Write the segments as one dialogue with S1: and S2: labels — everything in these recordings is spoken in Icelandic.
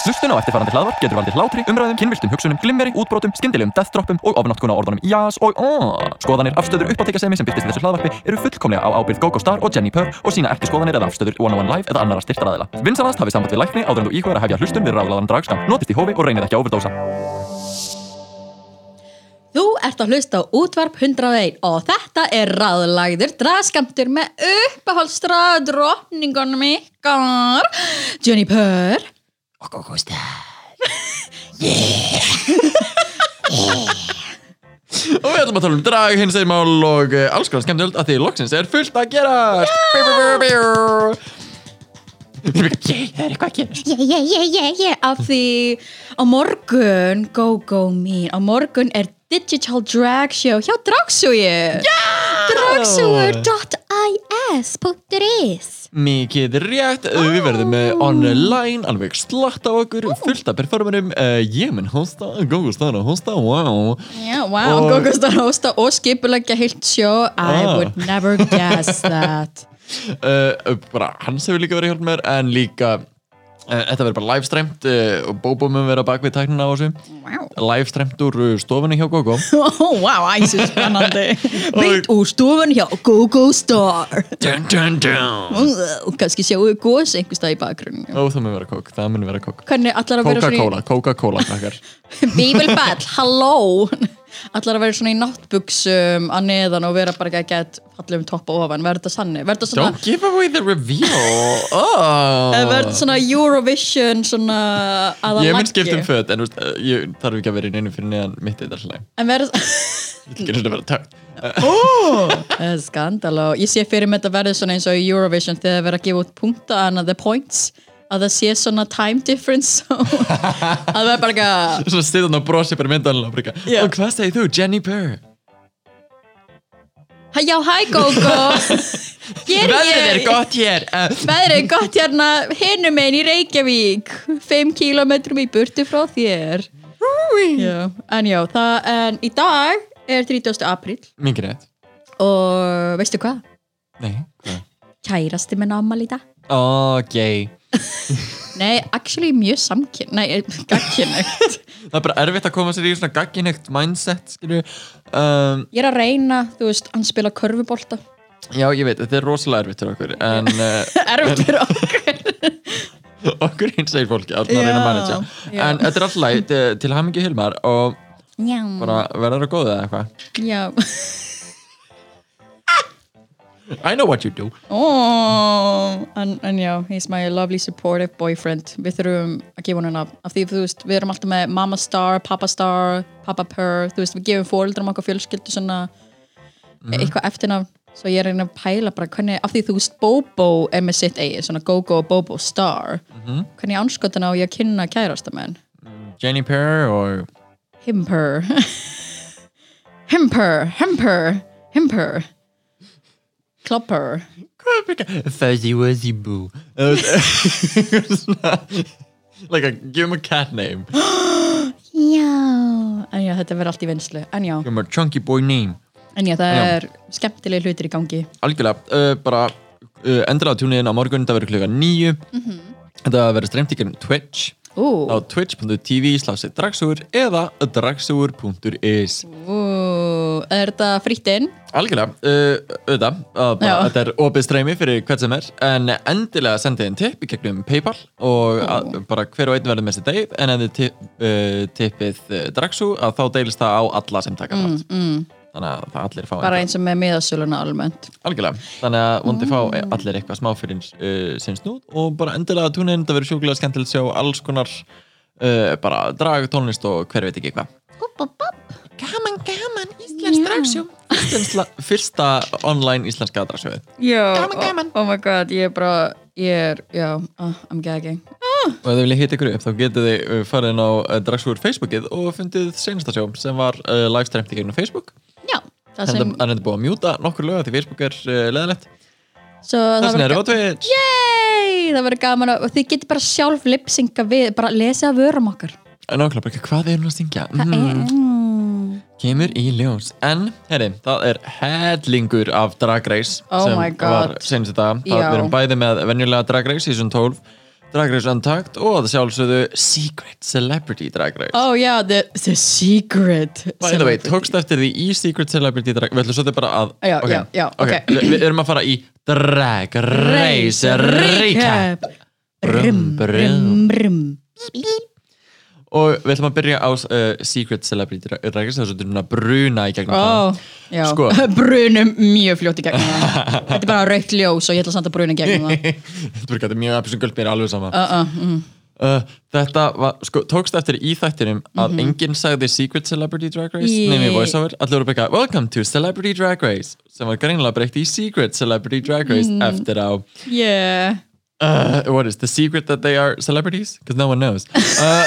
S1: Hlustun á eftirfarandi hlaðvarp getur valdið hlátri, umræðum, kynviltum hugsunum, glimmeri, útbrotum, skyndilegum deathdroppum og ofnotkun á orðunum jás og aaaah. Skoðanir, afstöður, uppáttekasemi sem byrtist í þessu hlaðvarpi eru fullkomlega á ábyrgð GoGo Star og Jenni Purr og sína ekki skoðanir eða afstöður One on One Live eða annara styrtaraðila. Vinsanast hafið samband við lækni áður en þú íhugar að hefja hlustun við ráðlaðan dragskam. Notist í hófi og reynið ekki að overdósa.
S2: Þú ert að hlusta á útvarp 101 og þetta er ráðlagður draðskamtur með uppahálstra drottningunum ykkar Jenny Purr og Gógó Stær
S1: Og við ætlum að tala um drag, hins einn mál og eh, alls konar skemmtilegt að því loksins er fullt að gerast. Bjú, bjú, bjú, bjú. Ég er líka, "Jé, Það er eitthvað að gerast.
S2: Yeah, yeah, yeah, yeah, yeah af því á morgun Gógó mín, á morgun er Digital Drag Show hjá Dragsúi Dragsúi.is.is
S1: Mikið rétt, við verðum með online, alveg slatt á okkur, fullt af performerum, uh, ég mun hósta, góðu staðan að hósta, wow.
S2: Já, wow,
S1: Og-
S2: og góðgast að hósta og skipulegja heilt sjó I
S1: Ah.
S2: would never guess that
S1: Uh, bara hans hefur líka verið hjálp mér, en líka, uh, þetta verður bara livestreamt uh, og Bóbó mun vera bak við tæknina á þessu.
S2: Wow,
S1: Livestreamt úr uh, stofunni hjá Gogo.
S2: oh, wow æsir spennandi Beint úr stofun hjá Go-Go Star
S1: Dun, dun, dun.
S2: Og kannski sjáu við gos einhverstað í bakgrunni
S1: Ó, það mun vera kók, það mun vera kók.
S2: Hvernig allar að vera svona
S1: Coca-Cola, Coca-Cola krakkar
S2: í Bíbelbell, halló Allar að vera svona í náttbuksum að neðan og vera bara ekki að get fallum topp og ofan, verður þetta sannig Verður þetta svona
S1: Don't give away the reveal oh.
S2: Eða verður svona Eurovision svona aðalaggi
S1: Ég mun skipta um föt en þú veist, eh, ég þarf ekki að vera í neinu fyrir neðan mitt eitt alltaf
S2: En verður
S1: Ég getur þetta að vera takt
S2: Það er skandal og ég sé fyrir mig þetta verði svona eins og í Eurovision þegar það verið að gefa út punkta en að the points að það sé svona time difference so- að það verði bara ekki að
S1: Svona stýðan og brosi bara myndan Afrika
S2: Já.
S1: Og hvað segir þú, Jenny Purr?
S2: "Hæ, já hæ Gogo Hér er
S1: Veðrið er
S2: ég
S1: gott hér uh,
S2: Veðrið er gott hérna hinum einn í Reykjavík 5 kilometrum í burtu frá þér já, En já, það, en í dag er 30. apríl
S1: Mikið rétt
S2: og veistu hvað?
S1: Nei hvað?
S2: Kærasti minn ámali í dag
S1: Ó, gay
S2: Nei, actually mjög samkyn Nei, gagkynögt
S1: Það er bara erfitt að koma sér í svona gagginhegt mindset skilju um,
S2: Ég er að reyna, þú veist, hann spila körfubolta
S1: Já, ég veit, þetta er rosalega erfitt fyrir okkur En uh,
S2: Erfitt fyrir okkur
S1: okkur eins segir fólki Alltaf að reyna að
S2: Já,
S1: managja
S2: já.
S1: En þetta er alltaf læg til, til hamingi Hilmar Og
S2: Já,
S1: bara verður að góða eða eitthvað
S2: já
S1: I know what you do
S2: oh, en, en já, he's my lovely supportive boyfriend Við þurfum að gefa hann nafn Af því, þú veist, við erum alltaf með mamma star, pappa star, pappa purr Þú veist, við gefum fóreldrum okkar fjölskyldu svona Eitthvað eftirnafn Svo ég er að reyna að pæla bara hvernig Af því, þú veist, Bobo er með sitt eigi Svona Gogo og Bobo star Hvernig anskotin á ég að kynna kærastamenn
S1: Jenny Purr og
S2: Himper Himper, himper, himper Klopper
S1: Fuzzy Wuzzy Boo Eða þú veist, svona, Like a, give him a cat name Give
S2: Já En já, þetta verður allt í vinslu En já,
S1: him a chunky boy name
S2: en já það
S1: Já.
S2: er skemmtileg hlutir í gangi
S1: Algjörlega, uh, bara uh, endur á tjúniðin á morgun, það verður klukka nýju Þetta verður streymt í gerum Twitch
S2: Ú,
S1: á twitch.tv slási dragsugur eða dragsugur.is
S2: ú Er þetta frítt inn?
S1: Algjörlega, uh, auðvitað, að bara,
S2: Já.
S1: þetta er opið streymi fyrir hvert sem er en endilega sendið einn tipp í gegnum Paypal og að, bara hver og einn verður með sér degið en ef þið tipp, uh, tippið uh, Draxu að þá deilist það á alla sem taka þátt mm. þannig að það allir fá
S2: Bara
S1: eitthvað.
S2: eins og með miðasöluna almennt
S1: algjörlega, þannig að vondi fá allir eitthvað smá fyrir uh, sinn snúð og bara endilega tún inn, það verður sjúkulega skemmtilegt sjá alls konar uh, bara drag, tónlist og hver veit ekki hvað Gaman, gaman, Íslands dragsjó Fyrsta online íslenska dragsjóið
S2: Já,
S1: Gaman, gaman.
S2: Oh, oh my god, ég er bara Ég er, já, oh, I'm gagging
S1: og ef þið viljið hitta ykkur upp þá getið þið uh, farið inn á uh, Dragsúr Facebookið og fundið senasta sjó sem var uh, livestreamt í gegnum Facebook
S2: Já, það
S1: en
S2: sem
S1: það er þetta búið að mjúta nokkur lög því Facebook er uh, leðalegt
S2: svo það
S1: þessin
S2: verður
S1: er á Twitch
S2: Yay, það verður gaman að, og þið getur bara sjálf lipsinga við, bara lesið að vörum okkar
S1: en áklæð bara hvað er hún að syngja mm,
S2: mm.
S1: kemur í ljós en herri, það er hellingur af Drag Race
S2: Oh
S1: sem
S2: my God.
S1: var senasta það
S2: Já.
S1: við erum bæði með venjulega Drag Race season 12 Drag Race Untucked og að sjálfsögðu Secret Celebrity Drag Race
S2: Oh yeah, the, the secret
S1: By the way,
S2: celebrity.
S1: tókst eftir því í Secret Celebrity Drag Við ætlum svolítið bara að
S2: Já,
S1: ok,
S2: já, já,
S1: ok.
S2: ok.
S1: Við við erum að fara í Drag Race Recap Brum,
S2: Brum,
S1: brum.
S2: brum, brum
S1: Og við ætlum að byrja á uh, Secret Celebrity Drag Drag Race Það er svolítið núna bruna í gegnum
S2: Ó, já,
S1: Sko.
S2: brunum mjög fljótt í gegnum það Þetta er bara raukt ljós og ég ætla samt að bruna í gegnum það
S1: Þetta verður gætið mjög episum guld mér er alveg sama
S2: uh, uh, mm.
S1: uh, Þetta var, sko, tókst eftir í þættinum að
S2: Mhm.
S1: enginn sagði Secret Celebrity Drag Race
S2: Í-
S1: yeah. nefnir voiceover, allir voru bara eitthvað, Welcome to Celebrity Drag Race sem var greinlega breykt í Secret Celebrity Drag Race
S2: Mhm.
S1: eftir á
S2: Yeah
S1: uh, What is the secret that they are celebrities? Because no one knows Uh,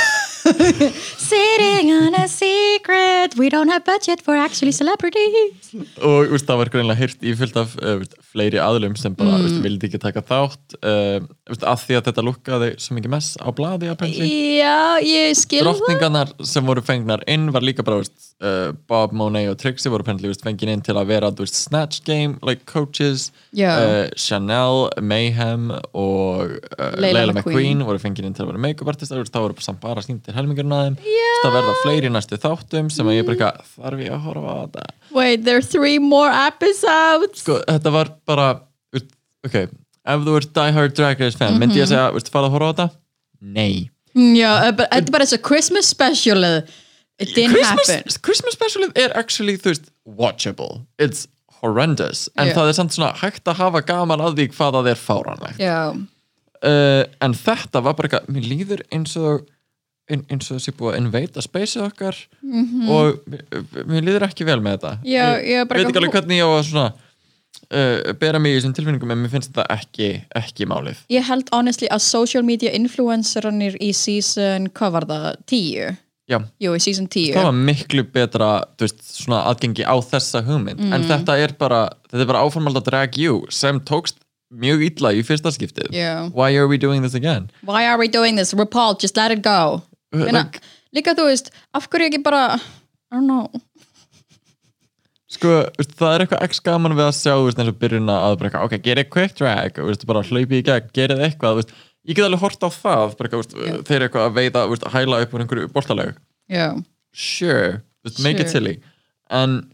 S2: Sitting on a secret We don't have budget for actually celebrities
S1: og úst, það var greinlega hýrt í fullt af uh, veist, fleiri aðlum sem bara mm. vildi ekki taka þátt uh, veist, að því að þetta lukkaði svo mikið mess á blaði apparently
S2: Já, ég skil það
S1: drottningarnar sem voru fengnar inn var líka bara, veist, uh, Bob Monet og Trixie voru pennilega veist, fengin inn til að vera þú veist, Snatch Game, like coaches
S2: Já.
S1: uh, Chanel, Mayhem og uh,
S2: Leila
S1: Leila
S2: McQueen.
S1: McQueen voru fengin inn til að vera make-up artist það voru samt bara síndir helmingurinn að þeim það verða fleiri í næstu þáttum sem að ég bara eitthvað, þarf ég að horfa á þetta
S2: Wait, there are three more episodes
S1: sko, þetta var bara veist, ok, ef þú ert Die Hard Drag Race fan, myndi
S2: Mhm.
S1: ég að segja, veist, farðu að horfa á þetta? Nei
S2: Mm, Já, eh, bara- þetta er bara eins og Christmas special It didn't happen
S1: Christmas, Christmas special er actually þú veist, watchable, it's horrendous en
S2: Já.
S1: það er samt svona hægt að hafa gaman að því hvað það er fáranlegt
S2: Já,
S1: uh, en þetta var bara eitthvað, mér líður eins og ein- eins og þessi búið að invata spaceið okkar og mér- mér líður ekki vel með þetta
S2: Mhm. Já, ég er bara
S1: veit ekki
S2: eitthvað-
S1: alveg hvernig ég á að svona uh, bera mig í þessum tilfinningum en mér finnst þetta ekki, ekki málið
S2: Ég held honestly að social media influencerannir í season, hvað var það, 10?
S1: Já,
S2: Jú, í season 10
S1: það var miklu betra þú veist, svona aðgengi á þessa hugmynd
S2: Mm.
S1: en þetta er bara, þetta er bara áformald að drag you sem tókst mjög illa í fyrsta skiptið
S2: Já.
S1: why are we doing this again
S2: Why are we doing this? RuPaul, just let it go Meina,
S1: Like-
S2: Líka þú veist, af hverju ekki bara I don't know
S1: sko, þú veist, það er eitthvað ekki gaman við að sjá þú veist, eins og byrjun að bara, eitthvað, ok, gerið quick drag og þú veist, bara hlaupið í gegn, gerið eitthvað þú veist, ég get alveg hort á það bara, eitthvað, þú
S2: Já.
S1: veist, þeir eru eitthvað að veiða, þú veist, að hæla upp úr einhverju boltaleg
S2: Já,
S1: sure, just make it
S2: Sure.
S1: silly en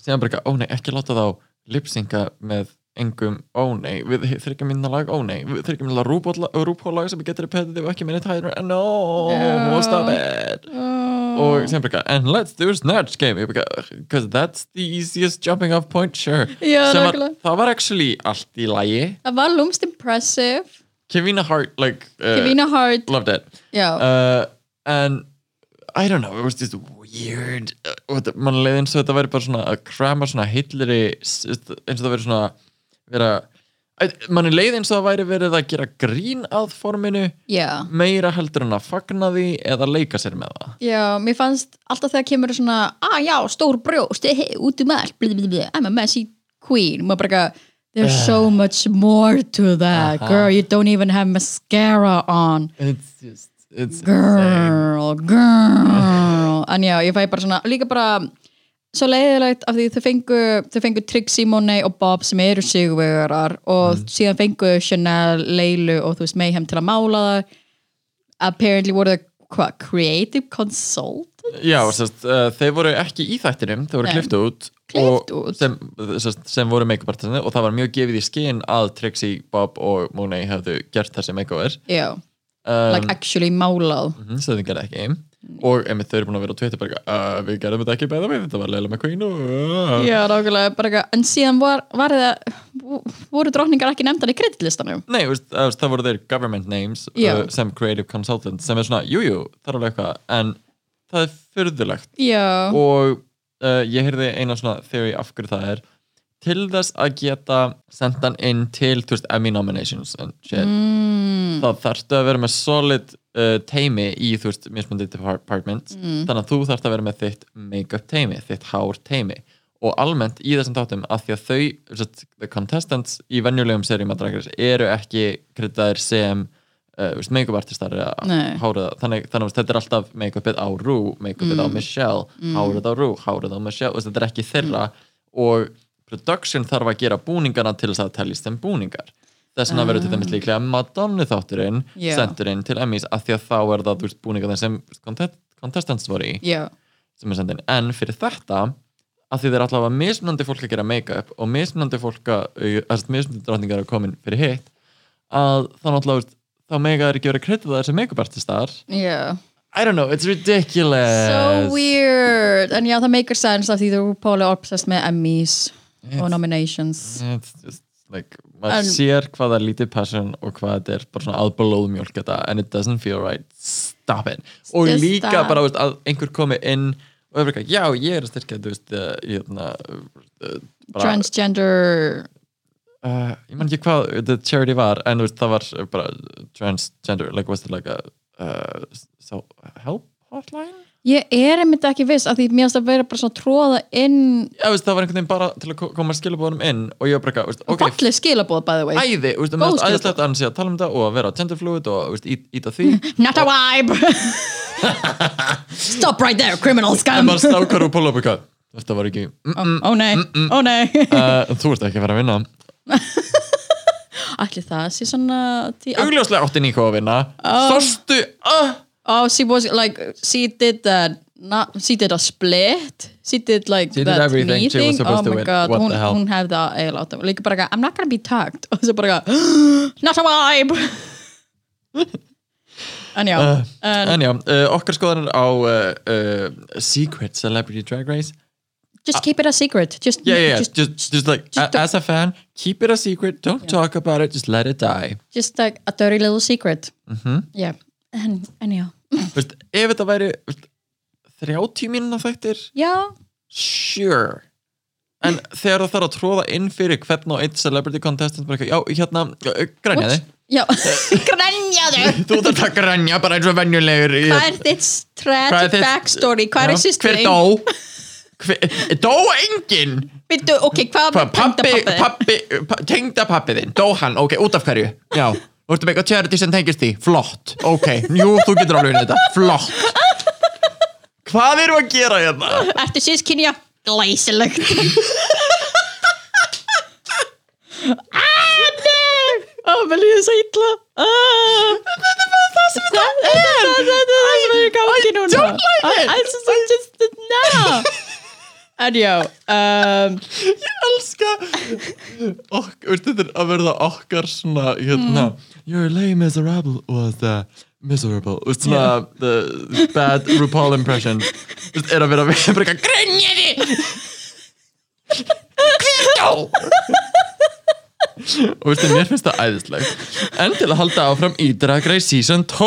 S1: síðan bara eitthvað, ó nei, ekki láta þá lipsynka með engum, ó nei, við þryggjum minna lag, ó nei, við þryggjum minna rúbhólag sem getur repetitive og ekki minni tæður, no,
S2: Já.
S1: stop it
S2: Uh, Oh.
S1: og síðan bara eitthvað, and let's do snatch game because that's the easiest jumping off point, sure
S2: Já,
S1: Sem að,
S2: nákvæmlega.
S1: það var actually allt í lagi
S2: það var lúmst impressive
S1: Kevina Hart, like uh,
S2: Kevina Hart
S1: loved it
S2: Já,
S1: uh, and I don't know, it was just weird uh, og þetta- mann leið eins og þetta væri bara svona að krama svona hillri eins og það væri svona vera, Æ, mann leið eins og það væri verið að gera grín að forminu
S2: já
S1: meira heldur en að fagna því eða leika sér með það
S2: Já, mér fannst alltaf þegar kemur svona að já, stór brjóst, he, he, út um allt bli, bli, bli, I'm a messy queen maður bara eitthvað, there's so much more to that, girl, you don't even have mascara on
S1: it's just, it's
S2: girl, girl en já, ég fæ bara svona, líka bara svo leiðilegt af því þau fengu þau fengu Trixie, Monet og Bob sem eru sigurvegarar og síðan fengu Chanel, Leilu og þú veist Mayhem til að mála það apparently voru það, hvað, creative consultant?
S1: Já, sest, uh, þeir voru ekki í þættinum, þeir voru
S2: Nei.
S1: klift út,
S2: Klippt
S1: og
S2: út.
S1: Sem, sest, sem voru make-up artistinni og það var mjög gefið í skinn að Trixie, Bob og Monet hefðu gert þessi make-over
S2: Já, like
S1: Um,
S2: actually málað
S1: Mhm, sem þið gerði ekki og emi, þau eru búin að vera á Twitter bara, uh, við gerðum þetta ekki bæða við, þetta var Leila McQueen og uh.
S2: Já, rákulega, bara eitthvað, en síðan var, var það, voru drottningar ekki nefndar í kreditlistanum?
S1: Nei, þú veist, þú veist, það voru þeir government names
S2: Já.
S1: uh, sem creative consultant sem er svona, jújú, jú, það er alveg eitthvað en það er furðulegt
S2: Já,
S1: og uh, ég heyrði eina svona theory af hverju það er til þess að geta sendt hann inn til, þú veist, Emmy nominations and shit,
S2: mm,
S1: þá þarftu að vera með solid uh, teimi í, þú veist, mismundi departments þannig að þú þarft að vera með þitt make-up teimi, þitt hár teimi og almennt í þessum tátum að því að þau, þú veist, the contestants í venjulegum serjum að dragis eru ekki kryddaðir sem uh, þú veist, make-up artistar eða
S2: Nei.
S1: hárið þannig, þannig að þetta er alltaf make-upið á Rú make-upið
S2: Mm.
S1: á Michelle, hárið á Rú hárið á Michelle, þú veist, þetta er
S2: Mm.
S1: ekki þeirra og production þarf að gera búningana til þess að það teljist sem búningar þess vegna verður til dæmis líklega Madonna þátturinn
S2: Ah. Já.
S1: sendurinn til Emmys af því að þá er það þú veist búningarnir sem contest- contestants voru í
S2: já,
S1: sem er sendin, en fyrir þetta af því þeir allavega mismunandi fólk að gera make-up og mismunandi fólk að au- að sagt, mismunandi drotningar að komin fyrir hitt að þá náttúrulega veist, þá mega þeir ekki verið að kredita þessi make-up artistar
S2: já
S1: I don't know, it's ridiculous
S2: so weird, en já það make sense af því þú Páli er obsessed með Emmys og nominations
S1: it's just like maður sér hvað það er lítið passion og hvað þetta er bara svona aðbólóðmjólk þetta and it doesn't feel right, stop it og
S2: Just
S1: líka
S2: stop.
S1: bara veist, að einhver komi inn og er bara eitthvað, já ég er að styrkja þú veist, uh, hérna uh, bara-
S2: transgender
S1: uh, ég man ekki hvað the charity var en þú veist, það var uh, bara transgender, like was it like a uh, so help hotline?
S2: ég er einmitt ekki viss af því mér finnst að vera bara svona tróða inn
S1: Já, þú veist, það var einhvern veginn bara til að ko- koma skilabóðanum inn og ég var bara eitthvað, þú veist,
S2: okay.
S1: ok,
S2: fallið skilabóð by the way Góð
S1: æði, þú veist, mér finnst
S2: skilaboð.
S1: æðislegt að hann sé að tala um þetta og að vera genderfluid og þú veist, ít- íta því
S2: not a vibe stop right there criminal
S1: en
S2: scum Oh,
S1: bara stákar og pull up eitthvað þetta var ekki, mm,
S2: ó nei, ó nei
S1: uh, þú ert ekki að vera að vinna
S2: Ah. allir það sé svona tí-
S1: augljóslega átti Níko að vinna
S2: Ah.
S1: sástu, uh,
S2: oh she was like she did that not, she did a split she did like
S1: She did
S2: that
S1: everything she
S2: meeting oh
S1: was supposed to
S2: my
S1: win.
S2: god
S1: What
S2: hún,
S1: the hell?
S2: hún hefði það eiginlega átt að- líka bara eitthvað, I'm not gonna be tagged og svo bara eitthvað, not a vibe en já en
S1: en já, uh, okkar skoðanir á uh, uh, Secret Celebrity Drag Race
S2: just keep it a secret just,
S1: yeah, yeah, yeah.
S2: just,
S1: Just, just, like
S2: just
S1: a-
S2: don't-
S1: as a fan, keep it a secret. Don't talk about it. Just let it die.
S2: just like a dirty little secret
S1: Mm-hmm.
S2: yeah en, en já
S1: Vist, ef þetta væri vist, 30 mínuna þættir,
S2: já,
S1: sure.
S2: Hmm.
S1: En þegar það þarf að tróða inn fyrir hvern og einn celebrity contestant, bara eitthvað, já, hérna, uh, grænja þig.
S2: já grenjaðu
S1: Þú þarf að grænja bara eins og venjulegur. í-
S2: hvað er þitt
S1: Hvað
S2: tragic
S1: er þitt-
S2: backstory hvað
S1: Já.
S2: er sýsturinn
S1: Hver dó? Hver, dó enginn?
S2: Bittu, ok, hvað
S1: Hvað, pappi,
S2: tengdapabbi?
S1: pappi, pappi tengda pappi þinn? Dó hann? Ok, út af hverju? Já. Þú ertu með eitthvað charity sem tengist því? Flott. Ok, jú, þú getur alveg unnið þetta. Flott. Hvað erum við að gera hérna?
S2: Ertu sískinja? Glæsilegt Ó, mér líður svo illa Þetta er bara það sem það er Þetta er það sem er í gangi núna
S1: don't like it.
S2: I- I just, I just, no En já um,
S1: Ég elska ok, veistu, þetta er að verða okkar svona hérna,
S2: Mm.
S1: you're lay miserable was the miserable Þú veist, svona the bad RuPaul impression Þú veist, er að vera að vera að
S2: Grunjaði
S1: og veistu, mér finnst það æðislegt en til að halda áfram í Drag Race Season 2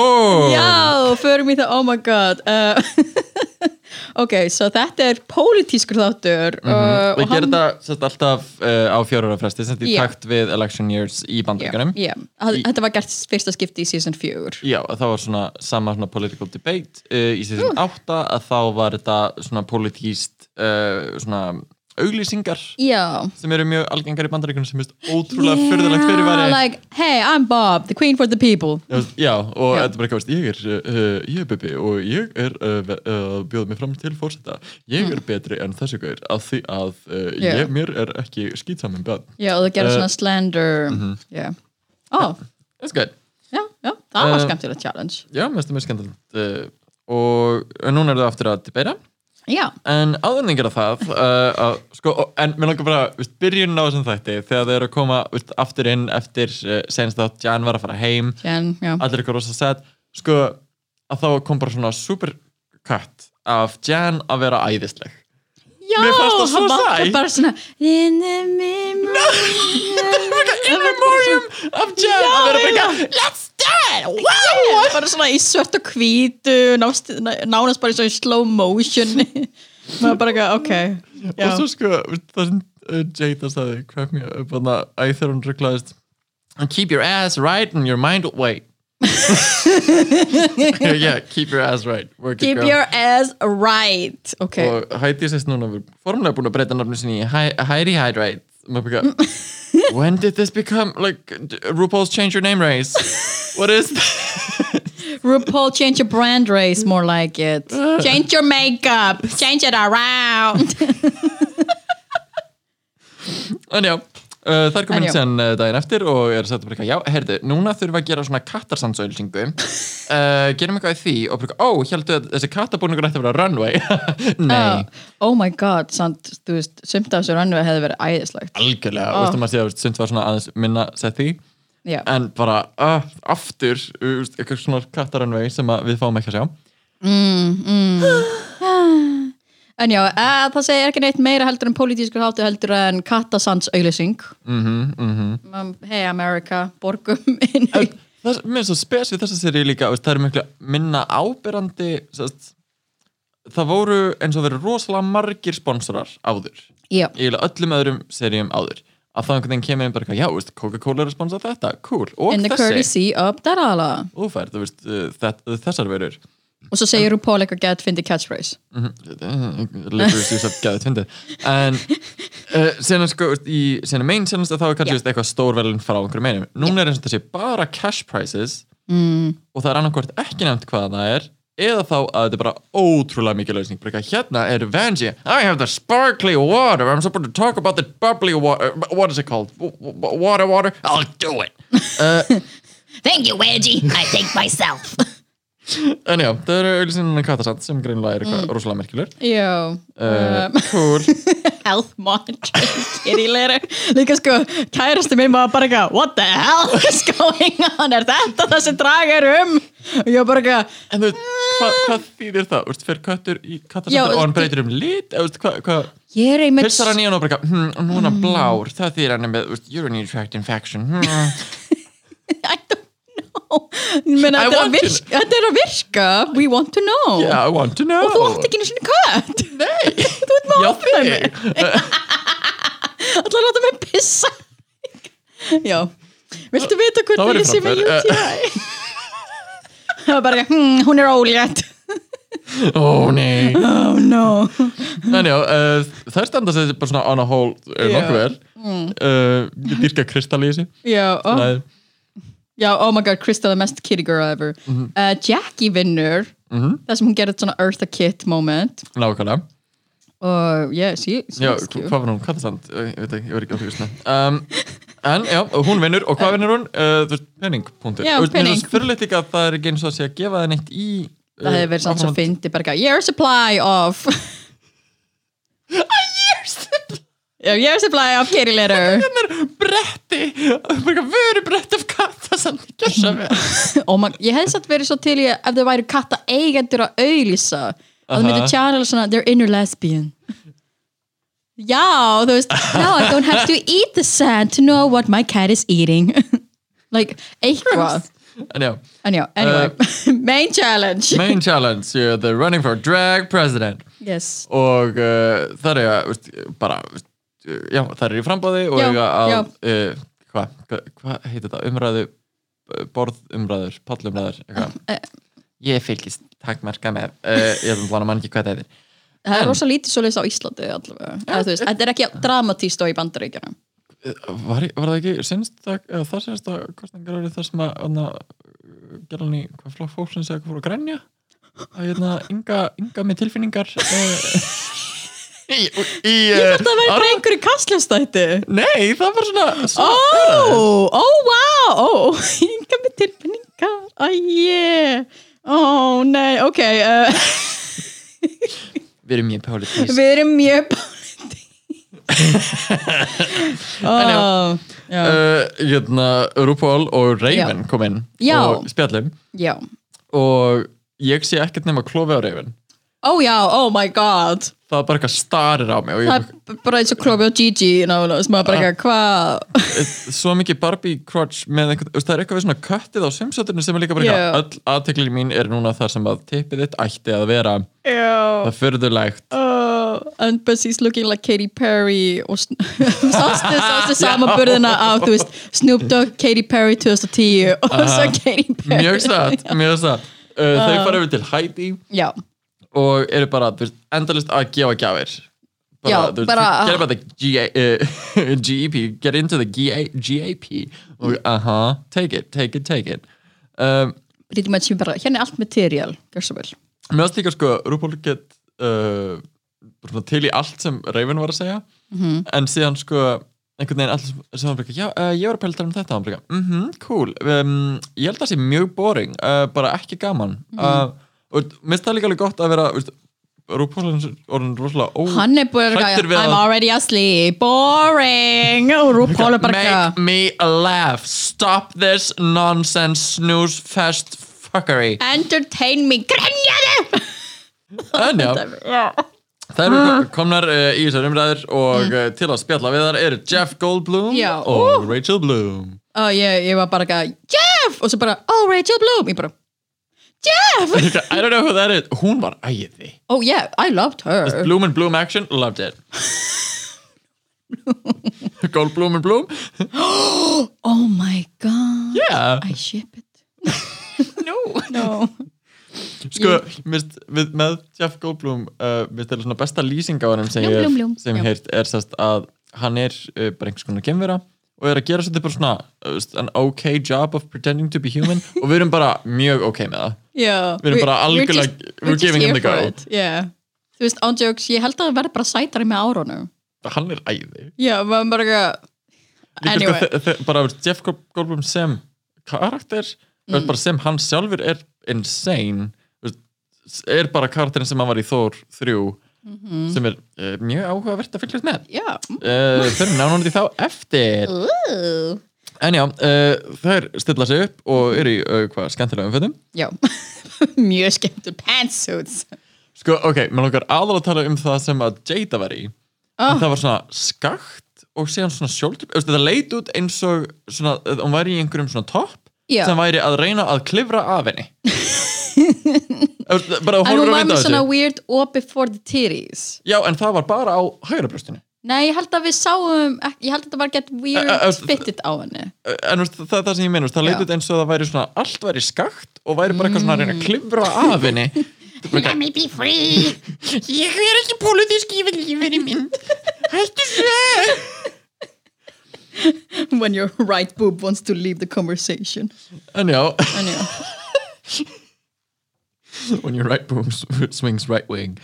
S2: Já, förum í það, oh my god uh, Ok, svo þetta er pólitískur þáttur mm -hmm.
S1: Mhm. við gerum það sérst, alltaf uh, á fjórara fresti sem því
S2: Já.
S1: takt við election years í bandaríkjunum
S2: Já, já. þetta var gert fyrsta skipti í season 4
S1: Já, að það var svona sama svona political debate uh, í season
S2: Mm.
S1: 8 að þá var þetta svona politíst uh, svona auglýsingar
S2: Já
S1: sem eru mjög algengar í bandaríkunum sem er ótrúlega yeah, fyrðulegt fyrirværi
S2: like, hey, I'm Bob, the queen for the people
S1: Já, veist, Já, og
S2: Já.
S1: þetta er bara eitthvað, veist, ég er, uh, uh, ég er Bibi og ég er uh, ve- uh, bjóð mig fram til fórseta. Ég er betri en þessi gaur að því að uh,
S2: Mm. Já.
S1: ég, mér er ekki skýtsamum bönn.
S2: Já, og það gerir
S1: Eh, mhm.
S2: svona slander Já, ó,
S1: That's good.
S2: Oh, já, já, það var
S1: Eh,
S2: skemmtilegt challenge
S1: Já, mér finnst það mjög skemmtilegt. Uh, og en núna er það aftur að debeira.
S2: Já,
S1: En áðurningar af það, uh, að, sko, og- en mér langar bara, veist, byrjun á þessum þætti, þegar þeir eru að koma veist, aftur inn eftir uh, senst átt, Jan var að fara heim,
S2: Jen, já
S1: allir eitthvað rosa sett sko að þá kom bara svona super cut af Jan að vera æðisleg
S2: Já,
S1: Mér fannst það svo
S2: hann var
S1: sæt.
S2: bara svona In the memory
S1: in memoriam af Jan að vera bara ekki
S2: Let's die, wow Bara svona í svört og hvítu nást- ná- Nánast bara í svona slow motion Maður bara eitthvað, ok já.
S1: og svo sko veist, það sem uh, Jada sagði crack me up þannig að æð þegar hún rugglaðist and keep your ass right and your mind wait yeah keep your ass right work it
S2: Keep
S1: girl
S2: your ass right Ok,
S1: og Heidi er sést núna við formlega búin að breyta nafnum sinni í er Hi- Heidi Hydrate Maður bara, when did this become like RuPaul's change your name race what is that
S2: RuPaul, change your brand race, more like it. Change your makeup, change it around.
S1: En já, Uh, það er komin
S2: En já.
S1: síðan uh, daginn eftir og er sagt bara eitthvað, já, heyrðu, núna þurfum við að gera svona kattarsandsauðlýsingu uh, gerum eitthvað í því og bara, eitthvað, ó, heldur að þessi kattabúningur ætti að vera runway Nei,
S2: oh, oh my god, samt, þú veist sumt af þessu rannveg hefði verið æðislegt
S1: algjörlega,
S2: Ó.
S1: oh. veistum að séð að sumt var svona aðeins minna sett því,
S2: já,
S1: en bara uh, aftur, uh, veist, eitthvað svona kattarunway sem að við fáum ekki að sjá
S2: en já, e, það segir ekki neitt meira heldur en pólitískur hátu heldur en Katasands auglýsing mm -hmm, mm -hmm. hey America, borgum inn í-
S1: það er mér er svo spes við þessa séri líka veist, það er miklu minna ábyrrandi sest, það voru eins og verið rosalega margir sponsorar áður
S2: já,
S1: í eiginlega öllum öðrum seríum áður að það einhvern veginn kemur inn bara eitthvað, já, veist, Coca-Cola er að sponsa þetta, cool, og
S2: in the
S1: þessi
S2: courtesy of Darala
S1: og þú færð, þú veist, uh, þetta- þessar verur
S2: og svo segir RuPaul eitthvað get fyndi catchphrase
S1: leikur því að geða tvindið en uh, senast sko veist, í senast megin senast að þá er kannski
S2: Já.
S1: yeah. eitthvað stórvelin frá einhverju meinum núna er eins og þessi bara cash prizes mm. og það er annarkvort ekki nefnt hvað það er eða þá að þetta er bara ótrúlega mikið lausning bara eitthvað, hérna er Vanji I have the sparkly water I'm supposed to talk about the bubbly water what is it called W- w- water water I'll do it
S3: Thank you, Angie. I think myself.
S1: en já, það eru auðvitað katasand sem greinlega er eitthvað rosalega merkilegur
S2: já,
S1: uh,
S2: Mm. um,
S1: cool
S2: health monitoring er í leiru líka sko, kærasti minn var bara eitthvað what the hell is going on er þetta það sem draga er um og ég var bara eitthvað
S1: En þú veist, hva, hvað þýðir það? Úrst, fer köttur í
S2: Já,
S1: kattasandur og hann breytir um lit? Úrst, hva, hva,
S2: ég er einmitt
S1: pissar hann í hann og bara, eitthvað, hm, núna
S2: Mm.
S1: blár, það þýðir hann er með, úrst, urinary tract infection. Hmm.
S2: I don't know Ég meina, þetta, er
S1: I
S2: að
S1: want to
S2: virka, þetta er að virka we want to know
S1: Yeah, I want to know.
S2: og þú átt ekki einu sinni kött
S1: Nei.
S2: þú ert með
S1: Já,
S2: ofnæmi
S1: þig.
S2: allar að láta mig pissa já viltu vita
S1: Það væri
S2: hvernig ég sé með
S1: framför.
S2: UTI það var bara eitthvað, hm, hún er ólétt
S1: Ó, nei.
S2: oh no
S1: En já, uh, þær standa sér bara svona on a whole uh,
S2: Já. Mm.
S1: nokkuð vel. Uh, dyrka kristall í þessu.
S2: já, ó,
S1: Það er-
S2: Já, oh my god, Krista the mest kitty girl ever
S1: Mhm.
S2: uh, Jackie vinnur mm þar sem hún gerir svona Eartha Kitt moment
S1: Nákvæmlega.
S2: og yeah, she, she
S1: Já,
S2: was
S1: hva-
S2: cute
S1: hvað var hún? Kattasand? Uh, Ég veit ekki, ég verð ekki að því að um, En já, hún vinnur og hvað vinnur hún? Uh, þú veist, penning, punktur
S2: Já,
S1: Þú veist, Mér
S2: pening.
S1: finnst fyrirleitt líka að það er ekki eins og að sé að gefa það neitt í uh,
S2: Það hefði verið samt svo
S1: áframhald-
S2: fyndi bara eitthvað, Year supply of A year supply of kitty litter
S1: Hennar bretti, bara vöru bretti af kattasand Gjörsa með
S2: og man, Oh ég hefði satt verið svo til ég ef þau væri katta eigendur að auðlýsa að þau
S1: Aha.
S2: myndi channel svona their inner lesbian já, þú veist now I don't have to eat the sand to know what my cat is eating like, eitthvað
S1: En já,
S2: en já, anyway, main challenge
S1: main challenge, you're the running for drag president
S2: yes,
S1: Og uh, það er að, veist, bara, veist, já, það er í frambóði og
S2: Já,
S1: eiga að,
S2: já.
S1: uh, hvað, hvað hva heitir það, umræðu, eh, borðumræður, pallumræður, eitthvað.
S2: Eh,
S1: ég fylgist takmarka með, uh, ég ætlum að mann ekki hvað það heitir.
S2: það er rosa lítið svoleiðis á Íslandi allavega, eða þú veist, þetta er ekki dramatíst og í bandaríkjana
S1: Eh, Var, var það ekki sinnstak, eða þar sinnstak kostningar eru þar sem að, anna, gera hann í hvað flokk fólksins eða hvað fór að grænja? Að ég hefna, ynga, ynga með tilfinningar. Uh, í, í, eh,
S2: ég þurfti að vera bara einhverju kastljóstætti
S1: Nei, það var svona,
S2: ó,
S1: svona
S2: ó, vá ó, hinga með tilfinningar æjé, ó, nei ok, uh,
S1: við erum mjög pálitís.
S2: við erum mjög báðið ó, já,
S1: uh, hérna, RuPaul og Raven kom inn
S2: Já.
S1: og spjallum
S2: já
S1: og ég sé ekkert nema klófi á Raven
S2: ó já, oh my god
S1: það var bara eitthvað starir á mig og
S2: það
S1: ég,
S2: er bara eins og Klofi og Gigi nálega, sem að bara ekki hvað
S1: eh, svo mikið Barbie crotch með einhvern, veist, það er eitthvað við svona köttið á svimsöturnu sem er líka bara
S2: Já.
S1: eitthvað öll aðteklin mín er núna þar sem að tippið þitt ætti að vera
S2: já
S1: það fyrðulegt
S2: Oh, and Bessie's looking like Katy Perry og sn- sástu, sástu samanburðina á þú veist, Snoop Dogg, Katy Perry 2010 og svo Katy Perry
S1: mjög satt, mjög satt uh, þau fara yfir til Heidi
S2: já,
S1: og eru bara þú veist, endalist að gefa gjafir bara,
S2: Já,
S1: þú veist,
S2: bara- ah.
S1: get about the GA, uh, GEP get into the GA, GAP og aha, take it, take it, take it um,
S2: pretty much ég bara, hérna er allt material gjör svo vel,
S1: mér varst líka sko RuPaul get
S2: Mhm.
S1: uh, bara svona til í allt sem Raven var að segja en síðan sko einhvern veginn allir sem- sem hann bara, já, uh, ég var að pæla að tala um þetta hann bara, mhm, cool um, ég held að það sé mjög boring, uh, bara ekki gaman
S2: Mhm.
S1: uh, og mér finnst það líka alveg gott að vera, veist Rúpól er orðin rosalega ó
S2: Hann er búin að
S1: Mm. Hræddur við
S2: I'm
S1: að-
S2: already asleep, boring og RuPaul er bara
S1: Make
S2: eitthvað
S1: me laugh Stop this nonsense snooze fest fuckery
S2: entertain me, grenjaðu
S1: En já, það eru ko- komnar uh, í þessar umræður og mm. til að spjalla við þar eru Jeff Goldblum
S2: Já,
S1: og Rachel Bloom
S2: og ég, ég var bara eitthvað, Jeff og svo bara, oh Rachel Bloom, ég bara Jeff,
S1: I don't know who that is Hún var æði
S2: oh yeah, I loved her
S1: Bloom and Bloom action, loved it Goldblum and Bloom
S2: oh my god,
S1: Yeah,
S2: I ship it
S1: no
S2: no.
S1: Sko, mist, við, með Jeff Goldblum uh, við stelum svona besta lýsing á hann sem
S3: Blum, blum, blum.
S1: ég sem
S2: Já.
S1: ég heyrt er sérst að hann er uh, bara einhvers konar kemvera og er að gera svolítið bara svona uh, veist, an ok job of pretending to be human og við erum bara mjög ok með það
S2: Já,
S1: Við erum bara
S2: we're
S1: algjörlega-
S2: just-
S1: we're
S2: just
S1: giving him
S2: here
S1: the
S2: for
S1: go.
S2: it, yeah. Þú veist, ándjóks, ég held að það verði bara sætari með árunum
S1: hann er æði
S2: Já, maður bara eitthvað
S1: Líka,
S2: Anyway.
S1: sko, þe- þe- bara veist, Jeff Gold- Goldblum sem karakter mm. bara sem hann sjálfur er insane veist, er bara karakterin sem hann var í Thor 3 sem er uh, mjög áhugavert að fylgjast með
S2: Já,
S1: uh, fyrir nánandi þá eftir
S3: Ooh.
S1: En já, uh, þær stilla sig upp og eru í uh, hvað, skemmtilega umfötum
S2: já Mjög skemmtur pantsuits
S1: Sko, ok, mér langar aðal að tala um það sem að Jada var í
S2: Ah.
S1: Það var svona skakt og síðan svona sjóldrip Þetta leit út eins og svona, eh, hún væri í einhverjum svona topp
S2: Já.
S1: sem væri að reyna að klifra af henni Veistu, Bara
S2: En hún
S1: horfur að
S2: var
S1: vinda
S2: með
S1: þessu
S2: svona weird opi for the titties
S1: Já, en það var bara á hægra brjóstinu
S2: Nei, ég held að við sáum ek- Ég held að þetta var gett weird
S1: Ö, ö, ö,
S2: fitted á henni
S1: Eh, En veist, það er það sem ég meina, veistu, það
S2: Já. Mm.
S1: leit út eins og það væri svona allt væri skakt og væri bara eitthvað svona að reyna að klifra af henni
S3: Let me be free.
S1: Ég er ekki pólitísk yfir lífið í mynd Hættu svo
S2: When your right boob wants to leave the conversation
S1: En já,
S2: En já,
S1: when your right boom s- swings right wing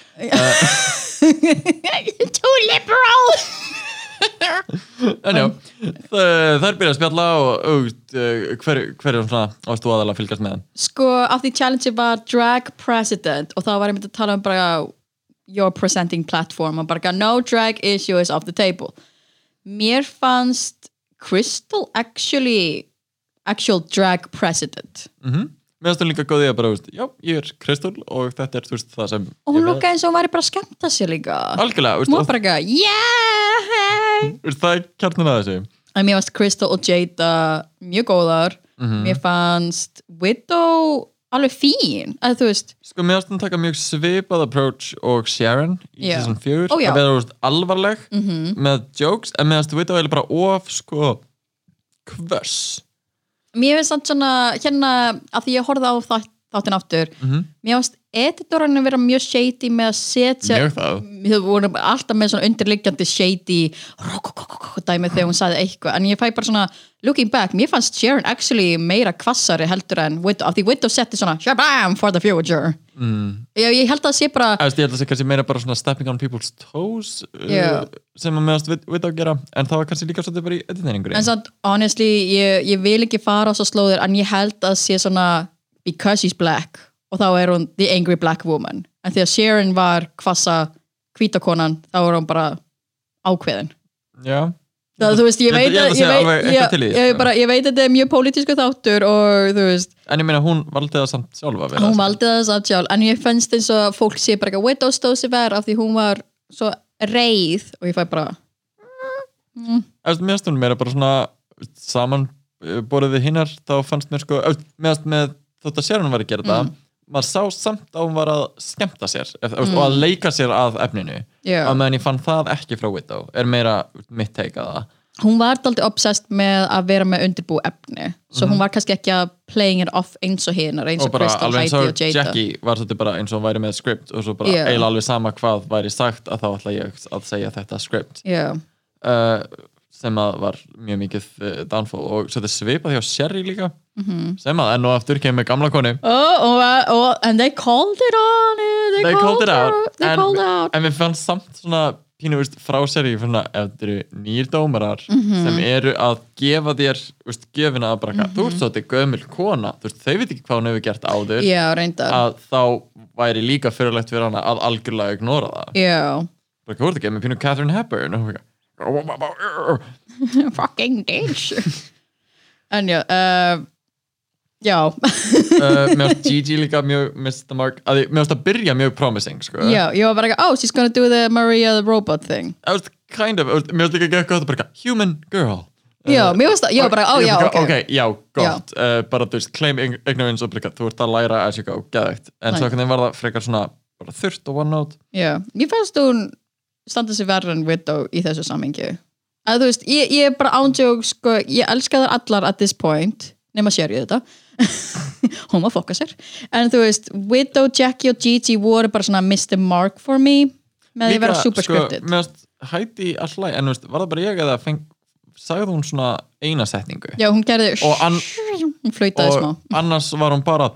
S3: Too liberal.
S1: En já, það er byrjað að spjalla og, og eh, hver, hver er svona ástu aðalega að fylgjast með þeim
S2: sko, af því challenge var drag president og það var einmitt að tala um bara your presenting platform og bara eitthvað, no drag issue is off the table mér fannst Crystal actually actual drag president
S1: Mér finnst hún líka góð í að bara, veist, já, ég er Kristól og þetta er þú veist, það sem
S2: og hún
S1: ég
S2: lukkaði eins og hún væri bara að skemmta sér líka
S1: Algjörlega,
S2: hún var
S1: veist,
S2: bara eitthvað, yeah hey.
S1: og, veist, það er kjarnin að þessu
S2: en mér fannst Crystal og Jada mjög góðar mér fannst Widow alveg fín, að þú veist
S1: Sko, mér finnst hún taka mjög svipað approach og Sharon í
S2: Já.
S1: season
S2: Ó,
S1: 4
S2: já.
S1: að vera veist, alvarleg -hmm. með jokes, en mér finnst þú veit að bara of, sko, kvöss
S2: mér finnst samt svona hérna að því ég horfði á þátt, þáttin aftur mér finnst editorinu vera mjög shady með að setja
S1: Mjög það
S2: við vorum alltaf með svona undirliggjandi shady rokokokokok dæmi þegar hún sagði eitthvað en ég fæ bara svona looking back mér fannst Sharon actually meira kvassari heldur en Widow af því Widow setti svona shabam for the future ég, ég held að það sé bara
S1: Æst, ég held að það sé kannski meira bara svona stepping on people's toes
S2: Já.
S1: uh, sem að meðast við, við að gera en það var kannski líka svolítið bara í
S2: en
S1: editeringur
S2: samt honestly ég, ég vil ekki fara á svo slóðir en ég held að sé svona because she's black og þá er hún the angry black woman en þegar Sharon var kvassa hvítakonan þá er hún bara ákveðin
S1: Já,
S2: það, þú veist ég
S1: Ég
S2: veit
S1: held- ég held að
S2: ég
S1: segja
S2: veit-
S1: alveg eitthvað
S2: ég-
S1: til í því,
S2: ég
S1: sko.
S2: bara- ég veit að þetta er mjög pólitísku þáttur og þú veist
S1: en ég meina hún valdi það samt sjálfa að vera sko.
S2: hún valdi það samt sjálf en ég fannst eins og fólk sé bara eitthvað widow stóð sér verð af því hún var svo reið og ég fæ bara
S1: Æst, meðast hún meira bara svona saman uh, borðið hinnar þá fannst mér sko, meðast með þótt að sér hún var að gera
S2: Mm.
S1: það maður sá samt að hún var að skemmta sér ef, mm. og að leika sér að efninu
S2: Já.
S1: að meðan ég fann það ekki frá Widow er meira mitt teika það
S2: hún var daldi obsessed með að vera með undirbú efni svo hún var kannski ekki að playing it off eins og hinnar eins
S1: Mhm. og
S2: og
S1: bara
S2: Crystal,
S1: alveg
S2: Heidi
S1: eins og
S2: og Jada
S1: Jackie var þetta bara eins og hún væri með script og svo bara
S2: Já.
S1: eiginlega alveg sama hvað væri sagt að þá ætla ég að segja þetta script
S2: yeah.
S1: uh, sem að var mjög mikið uh, downfall og svo þetta svipað hjá Sherry líka -hmm.
S2: Mhm.
S1: sem að enn og aftur kemur gamla konu
S2: oh, oh, oh, and they called it on her, they,
S1: they called it out
S2: her, they
S1: en,
S2: called out
S1: en við fannst samt svona pínu veist, fráseri svona, ef þetta eru nýjir dómarar
S2: Mhm.
S1: sem eru að gefa þér veist, gjöfina að brakka, þú ert svolítið gömul kona, þú veist, þau veit ekki hvað hún hefur gert áður
S2: já, reyndar
S1: að þá væri líka fyrirlegt fyrir hana að algjörlega ignora það
S2: já,
S1: bara hvað voru þetta ekki með pínu Catherine Hepburn og hún "Oh, fyrir
S2: fucking ditch en já uh, já,
S1: uh, mér finnst Gigi líka mjög mista mark, að ég, mér finnst að byrja mjög promising sko.
S2: já, ég var bara ekki oh, she's gonna do the Maria the robot thing
S1: I was kind of, I was- mér finnst líka ekki eitthvað bara eitthvað, human girl
S2: já, mér varst það, já, bara, ó,
S1: Ég
S2: já,
S1: bara,
S2: ok,
S1: ok, já, gott uh, bara þú veist, claim ig- ignorance og blika, þú ert að læra as you go, geðvegt en
S2: Nei.
S1: svo hvernig var það frekar svona bara þurrt og one note
S2: já, ég fannst hún standa sig verður en Widow í þessu samhengi að þú veist, ég, ég er bara ándjók sko, ég elska þar allar at this point nema sér ég þetta hún var fokka sér, en þú veist Widow, Jackie og Gigi voru bara svona Mr. Mark for me með því að vera superscripted
S1: sko, mér finnst Heidi alltaf, en þú veist, var það bara ég eða feng, sagði hún svona eina setningu
S2: já, hún gerði
S1: Og ann-
S2: hún flautaði smá
S1: og annars var hún bara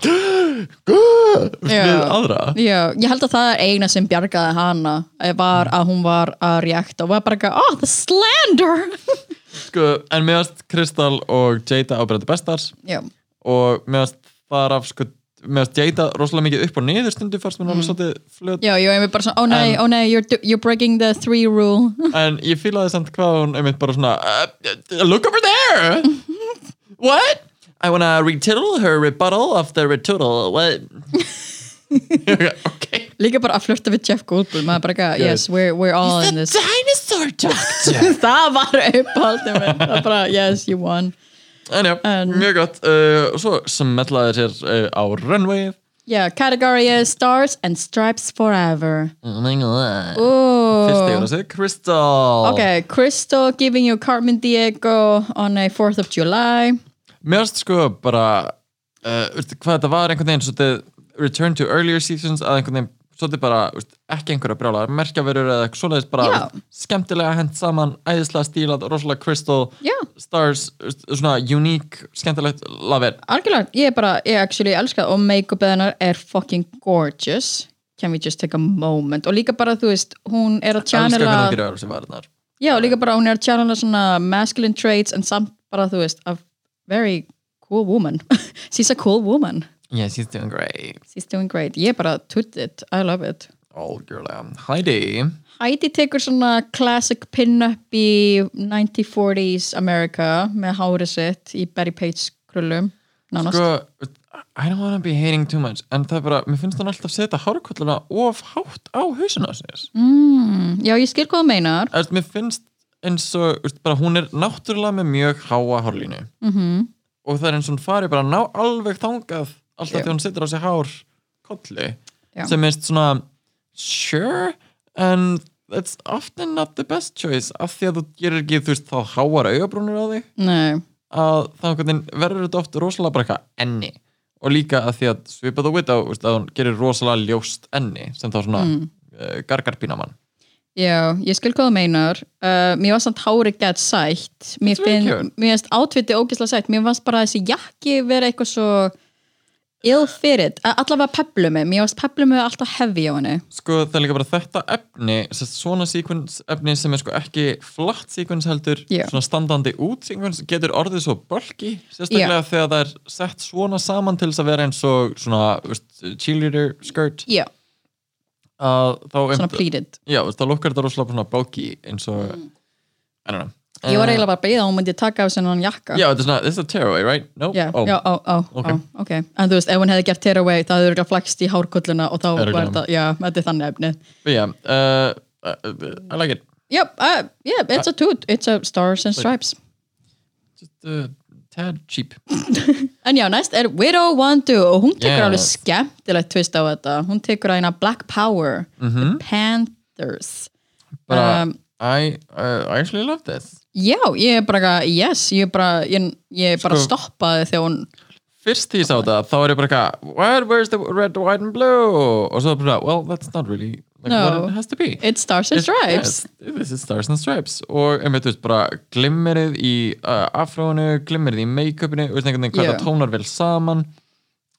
S1: við
S2: Já.
S1: aðra
S2: Já, ég held að það er eina sem bjargaði hana eh, var að hún var að reakta og var bara eitthvað, oh, the slander
S1: sko, en mér finnst Kristal og Jada ábyrðandi bestars
S2: Já,
S1: og mér finnst þar af sko, mér finnst Jada rosalega mikið upp og niður stundu fannst mér alveg svolítið flöt
S2: Mm. já, ég var einmitt bara svona, ó nei,
S1: En-
S2: ó nei, you're, do- you're breaking the three rule
S1: en ég fílaði samt hvað hún einmitt bara svona uh, look over there what? I wanna retoodle her rebuttal of the retoodle what? ok
S2: Líka bara að flirta við Jeff Goldblum maður bara eitthvað, yes, we're, we're all in this
S1: dinosaur doctor
S2: Það var upphaldið minn það bara, yes, you won
S1: en já,
S2: En-
S1: mjög gott uh, og svo smetlaði sér uh, á runwayið
S2: Já, category is stars and stripes forever
S1: oh my god
S2: Ooh.
S1: Fyrst eigur að segja Crystal
S2: Ok, Crystal giving you Carmen Diego on a 4th of July
S1: Mér finnst sko bara uh, veistu, hvað þetta var einhvern veginn svolítið, return to earlier seasons að einhvern veginn svolítið bara veistu, ekki einhverja brjálar merkjaverur eða eitthvað svoleiðis bara
S2: Já.
S1: veistu, skemmtilega hent saman, æðislega stílað rosalega Crystal,
S2: Já.
S1: Stars veistu, svona unique, skemmtilegt love it
S2: algjörlega, ég er bara, ég actually elska það og make-upið hennar er fucking gorgeous can we just take a moment og líka bara, þú veist, hún er að
S1: Elskar hvernig hún
S2: channela,
S1: gerir öðru sem var þarna
S2: já, líka bara hún er að channela svona masculine traits en samt bara, þú veist, a very cool woman, she's a cool woman
S1: Yeah, she's doing great
S2: she's doing great, ég bara toot it, I love it
S1: Algjörlega, um, Heidi
S2: Heidi tekur svona classic pin-up í 1940s America með hárið sitt í Barry Page krullum, nánast
S1: sko, I don't wanna be hating too much en það er bara, mér finnst hún alltaf setja hárkolluna of hátt á hausinu á sér
S2: Mm. já, ég skil hvað það meinar
S1: Erst, mér finnst eins og veist, bara, hún er náttúrulega með mjög háa hárlínu -hmm.
S2: Mhm.
S1: og það er eins og hún fari bara að ná alveg þangað alltaf
S2: Já.
S1: þegar hún setur á sig hár kolli
S2: Já.
S1: sem er svona sure and it's often not the best choice af því að þú gerir ekki þú veist þá háar augabrúnir á þig
S2: Nei.
S1: að þá einhvern veginn verður þetta oft rosalega bara eitthvað enni og líka að því að svipað og vita veist, að hún gerir rosalega ljóst enni sem þá svona mm. uh, gargarpínamann
S2: Já, ég skil hvað þú meinar uh, Mér var samt hári gett sætt Mér
S1: Þetta er
S2: finn,
S1: kjör.
S2: mér finnst átviti ógislega sætt Mér fannst bara þessi jakki vera eitthvað svo ill fyrir Allavega peplumi, mér fannst peplumi alltaf heavy á henni
S1: sko það er líka bara þetta efni sem sagt, svona sequence efni sem er sko ekki flatt sequence heldur
S2: Já.
S1: svona standandi út sequence getur orðið svo bulky sérstaklega þegar það er sett svona saman til þess að vera eins og svona veist, cheerleader skirt
S2: Já,
S1: að þá
S2: svona
S1: einmitt-
S2: pleated
S1: já, veist, þá lukkar þetta rosalega svona bulky eins og I don't know
S2: Mm. Ég var
S1: Eh,
S2: eiginlega bara að beða að hún myndi taka af sér hann jakka
S1: já, þetta er svona, this is a tearaway, right? no,
S2: Já,
S1: oh,
S2: já, ó, ó,
S1: Ok.
S2: ó, ok En þú veist, ef hún hefði gert tear away það hefur ekki flækst í hárkolluna og þá var
S1: Örugglega.
S2: þetta, já, þetta er þannig efni
S1: yeah uh, uh, I like it
S2: Yep, uh, yeah, it's a toot, it's a stars and stripes
S1: just uh, tad cheap
S2: En já, næst er Widow Wandu og hún tekur
S1: Yes.
S2: alveg skemmtilegt twist á þetta. Hún tekur að hérna Black Power, The
S1: Mhm.
S2: Panthers.
S1: bara,
S2: Um,
S1: I, uh, I actually love this
S2: Já, ég er bara, eitthvað, yes, ég er bara, ég, ég er bara
S1: Sko-
S2: stoppaði þegar hún,
S1: fyrst því ég sá þetta, þá er ég bara eitthvað where, where's the red, white and blue og svo bara, well, that's not really like,
S2: No.
S1: what it has to be
S2: it's Stars and Stripes.
S1: yes, this is Stars and Stripes og einmitt, þú veist, bara glimmerið í uh, afrónu, glimmerið í make-upinu, þú veist, einhvern veginn hvað
S2: Já.
S1: það tónar vel saman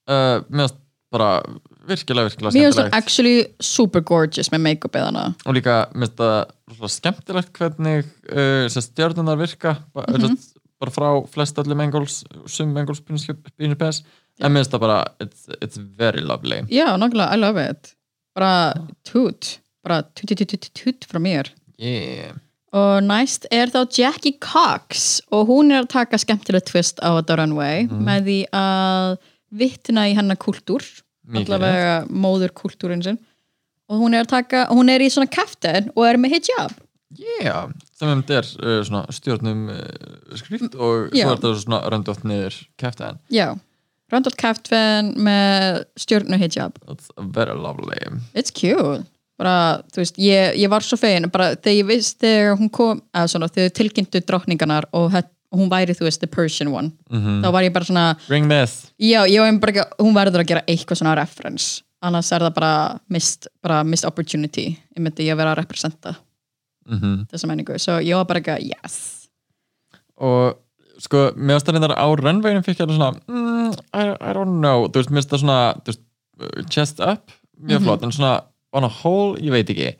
S1: uh, meðast bara virkilega, virkilega
S2: Mér finnst hún
S1: skemmtilegt
S2: actually super gorgeous með make-up eða hana
S1: og líka, mér finnst það rosalega skemmtilegt hvernig uh, sem stjörnunar virka ba
S2: Mhm.
S1: mm bara frá flest öllum engels sum engels pínir pes en mér finnst það bara, it's, it's very lovely
S2: Já, nokkulega, I love it
S1: Oh.
S2: Bara toot Bara toot, toot, toot, toot, toot frá mér
S1: yeah
S2: Og næst er þá Jackie Cox og hún er að taka skemmtilega twist á The Runway með því að vitna í hennar kultúr
S1: Mikið
S2: allavega móður kultúrin sinn og hún er að taka, hún er í svona kaftan og er með hijab
S1: yeah, sem um þetta er uh, svona stjórnum uh, skrift og
S2: Já.
S1: svo er þetta svona röndótt niður kæftan,
S2: Já, röndótt kaftan með stjórnu hijab
S1: that's very lovely
S2: It's cute bara, þú veist, ég, ég var svo fegin bara þegar ég veist þegar hún kom eða svona, þegar tilkynntu drottningarnar og hett- hún væri, þú veist, the Persian one þá var ég bara svona,
S1: bring this
S2: já, ég var bara ekki hún verður að gera eitthvað svona reference annars er það bara missed, bara missed opportunity ég myndi ég að vera að representa
S1: mm
S2: þessa menningu, svo ég var bara ekki yes,
S1: og sko, mér finnst það reyndar á rennveginu fikk ég alveg svona mm, I, I don't know, þú veist, mér finnst það svona þú veist, uh, chest up, mjög flott en svona on a whole, ég veit ekki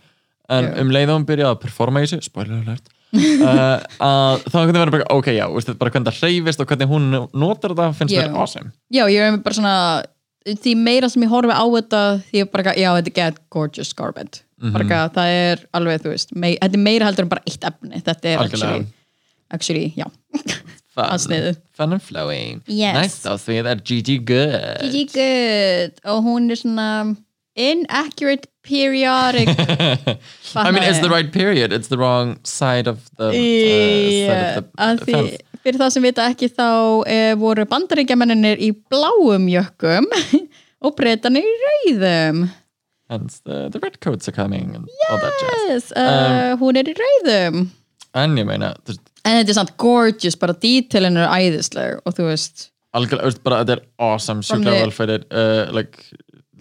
S1: en
S2: Mhm. Já.
S1: um leið og hún byrjaði að performa í þessu spoiler alert uh, að þá hvernig verður bara, ok, já, veist, bara hvernig það hreyfist og hvernig hún notar þetta finnst
S2: Já.
S1: mér awesome
S2: já, ég var bara svona því meira sem ég horfi á þetta því ég bara ekki, já, þetta get gorgeous garment bara
S1: Mhm.
S2: ekki, það er alveg, þú veist mei, þetta er meira heldur en bara eitt efni þetta er
S1: Algjörlega.
S2: actually, actually, já Að
S1: fun,
S2: sniðu.
S1: fun and flowing
S3: Yes.
S1: næst á því er Gigi Good
S2: Gigi Good og hún er svona inaccurate periodic
S1: I mean, it's the right period, it's the wrong side of the, uh,
S2: Sko, eh,
S1: side of the
S2: að því
S1: fence.
S2: fyrir það sem vita ekki þá e, voru bandaríkjamenninir í bláum jökkum og breytanir í rauðum
S1: Hence the, the red coats are coming and all that jazz.
S2: yes, uh, hún er í rauðum
S1: En ég meina, þú veist,
S2: en þetta er samt gorgeous, bara detailin er æðisleg og þú veist
S1: algjörlega, þú veist, bara þetta er awesome, sjúklega
S2: the-
S1: vel fyrir, uh, like,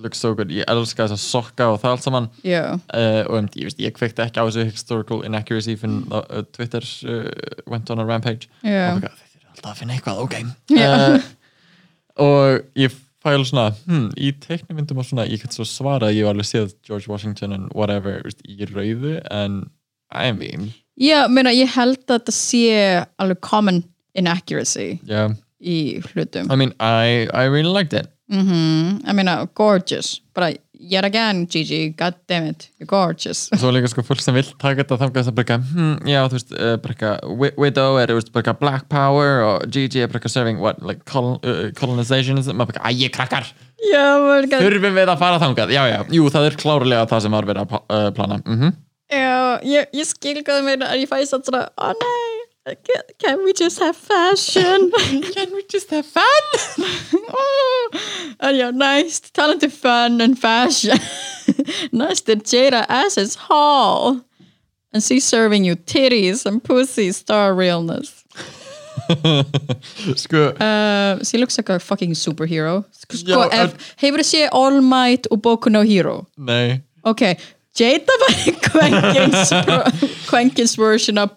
S1: looks so good. Ég elska þess að sokka og það allt saman.
S2: já,
S1: Uh, og um, ég veist, ég kveikti ekki á þessu historical inaccuracy fyrir uh, Twitter uh, went on a rampage.
S2: Já.
S1: Oh my god, þeir eru alltaf að finna eitthvað, ok. Uh, og ég fæl svona, hmm, í teiknumyndum og svona, ég get svo svara að ég hef alveg séð George Washington and whatever, þú veist, í rauðu, en I mean,
S2: já meina, ég held að þetta sé alveg common inaccuracy
S1: yeah.
S2: í hlutum
S1: I mean, I, I really liked it.
S2: I mean, uh, gorgeous bara, yet again, Gigi, god damn it you're gorgeous
S1: Svo er líka sko fólk sem vill taka þetta þangað sem bara eitthvað, hmm, já, þú veist, uh, bara eitthvað, wi- widow er, þú veist, bara eitthvað black power og Gigi er bara eitthvað serving, what, like, colon, uh, colonization, maður bara eitthvað, ægir krakkar,
S2: já, maður gat-
S1: þurfum við að fara þangað, já, já, jú, það er klárlega það sem var verið að pla- uh, plana, mhm,
S2: já, ég, ég skil hvað það meina en ég fæði satt svona, oh nei can, can we just have fashion can we just have fun er, en já, næst talandi fun and fashion næst er Jada Ashes Hall and she's serving you titties and pussy star realness
S1: sko,
S2: Uh, she looks like a fucking superhero Sk- sko,
S1: Já,
S2: ef, hefur þið séð All Might og Boku no Hero
S1: nei,
S2: ok, Jada var Quenkins version of,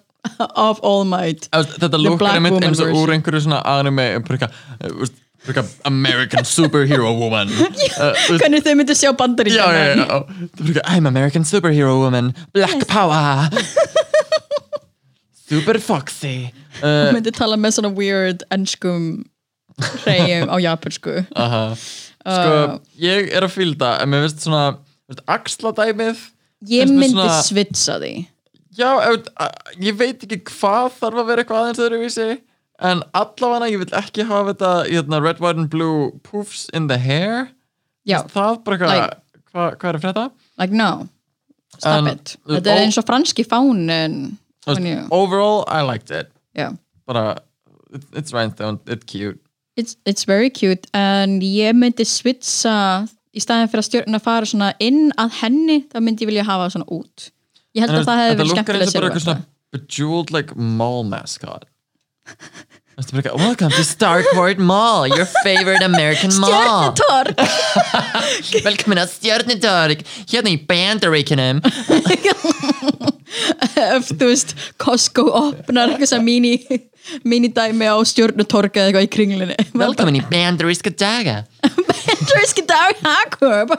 S2: of All Might
S1: Þú veist, þetta
S2: black
S1: lúkar einmitt
S2: woman
S1: eins og úr
S2: version.
S1: einhverju svona anime, bara eitthvað, uh, þú veist, bara eitthvað, American superhero woman, uh, þú veist,
S2: hvernig þau myndu sjá bandaríkja
S1: já, já, já, já. Þú verður ekki, I'm American superhero woman Black power Super foxy uh,
S2: myndu tala með svona weird ennskum hreyjum á japansku Ah.
S1: Sko, ég er að fylda En mér finnst svona, veist, axladæmið
S2: ég
S1: finnst mér
S2: myndi
S1: svona-
S2: svitsa því
S1: Já, ef- að- ég veit ekki hvað þarf að vera eitthvað aðeins öðruvísi En allavega, ég vil ekki hafa þetta hérna, Red, white and blue poofs in the hair
S2: já,
S1: Það bara eitthvað,
S2: Like-
S1: hvað hva er að frétta?
S2: like no stop
S1: En-
S2: it, þetta er
S1: Ó-
S2: eins og franski fánin
S1: Þú
S2: Hún,
S1: veist,
S2: já.
S1: Overall, I liked it
S2: já
S1: Bara, it- it's rhinestone, it's cute
S2: It's, it's very cute en ég myndi svitsa í staðin fyrir að stjórna fara svona inn að henni, þá myndi ég vilja hafa svona út ég held
S1: En
S2: að það hefði verið
S1: Þetta lukkar
S2: skemmtilega
S1: eins og bara eitthvað
S2: silhouette.
S1: svona bejeweled like mall mascot Þetta er bara eitthvað, welcome to Starkport Mall, your favorite American mall
S2: Stjörnutorg
S1: Velkomin að Stjörnutorg, hérna í Bandaríkinum
S2: ef þú veist Costco opnar eitthvað sem mini mini dæmi á stjörnutorg eða eitthvað í kringlinni
S1: Velkomin í Bandaríska daga
S2: Andrew Skidar Hagurb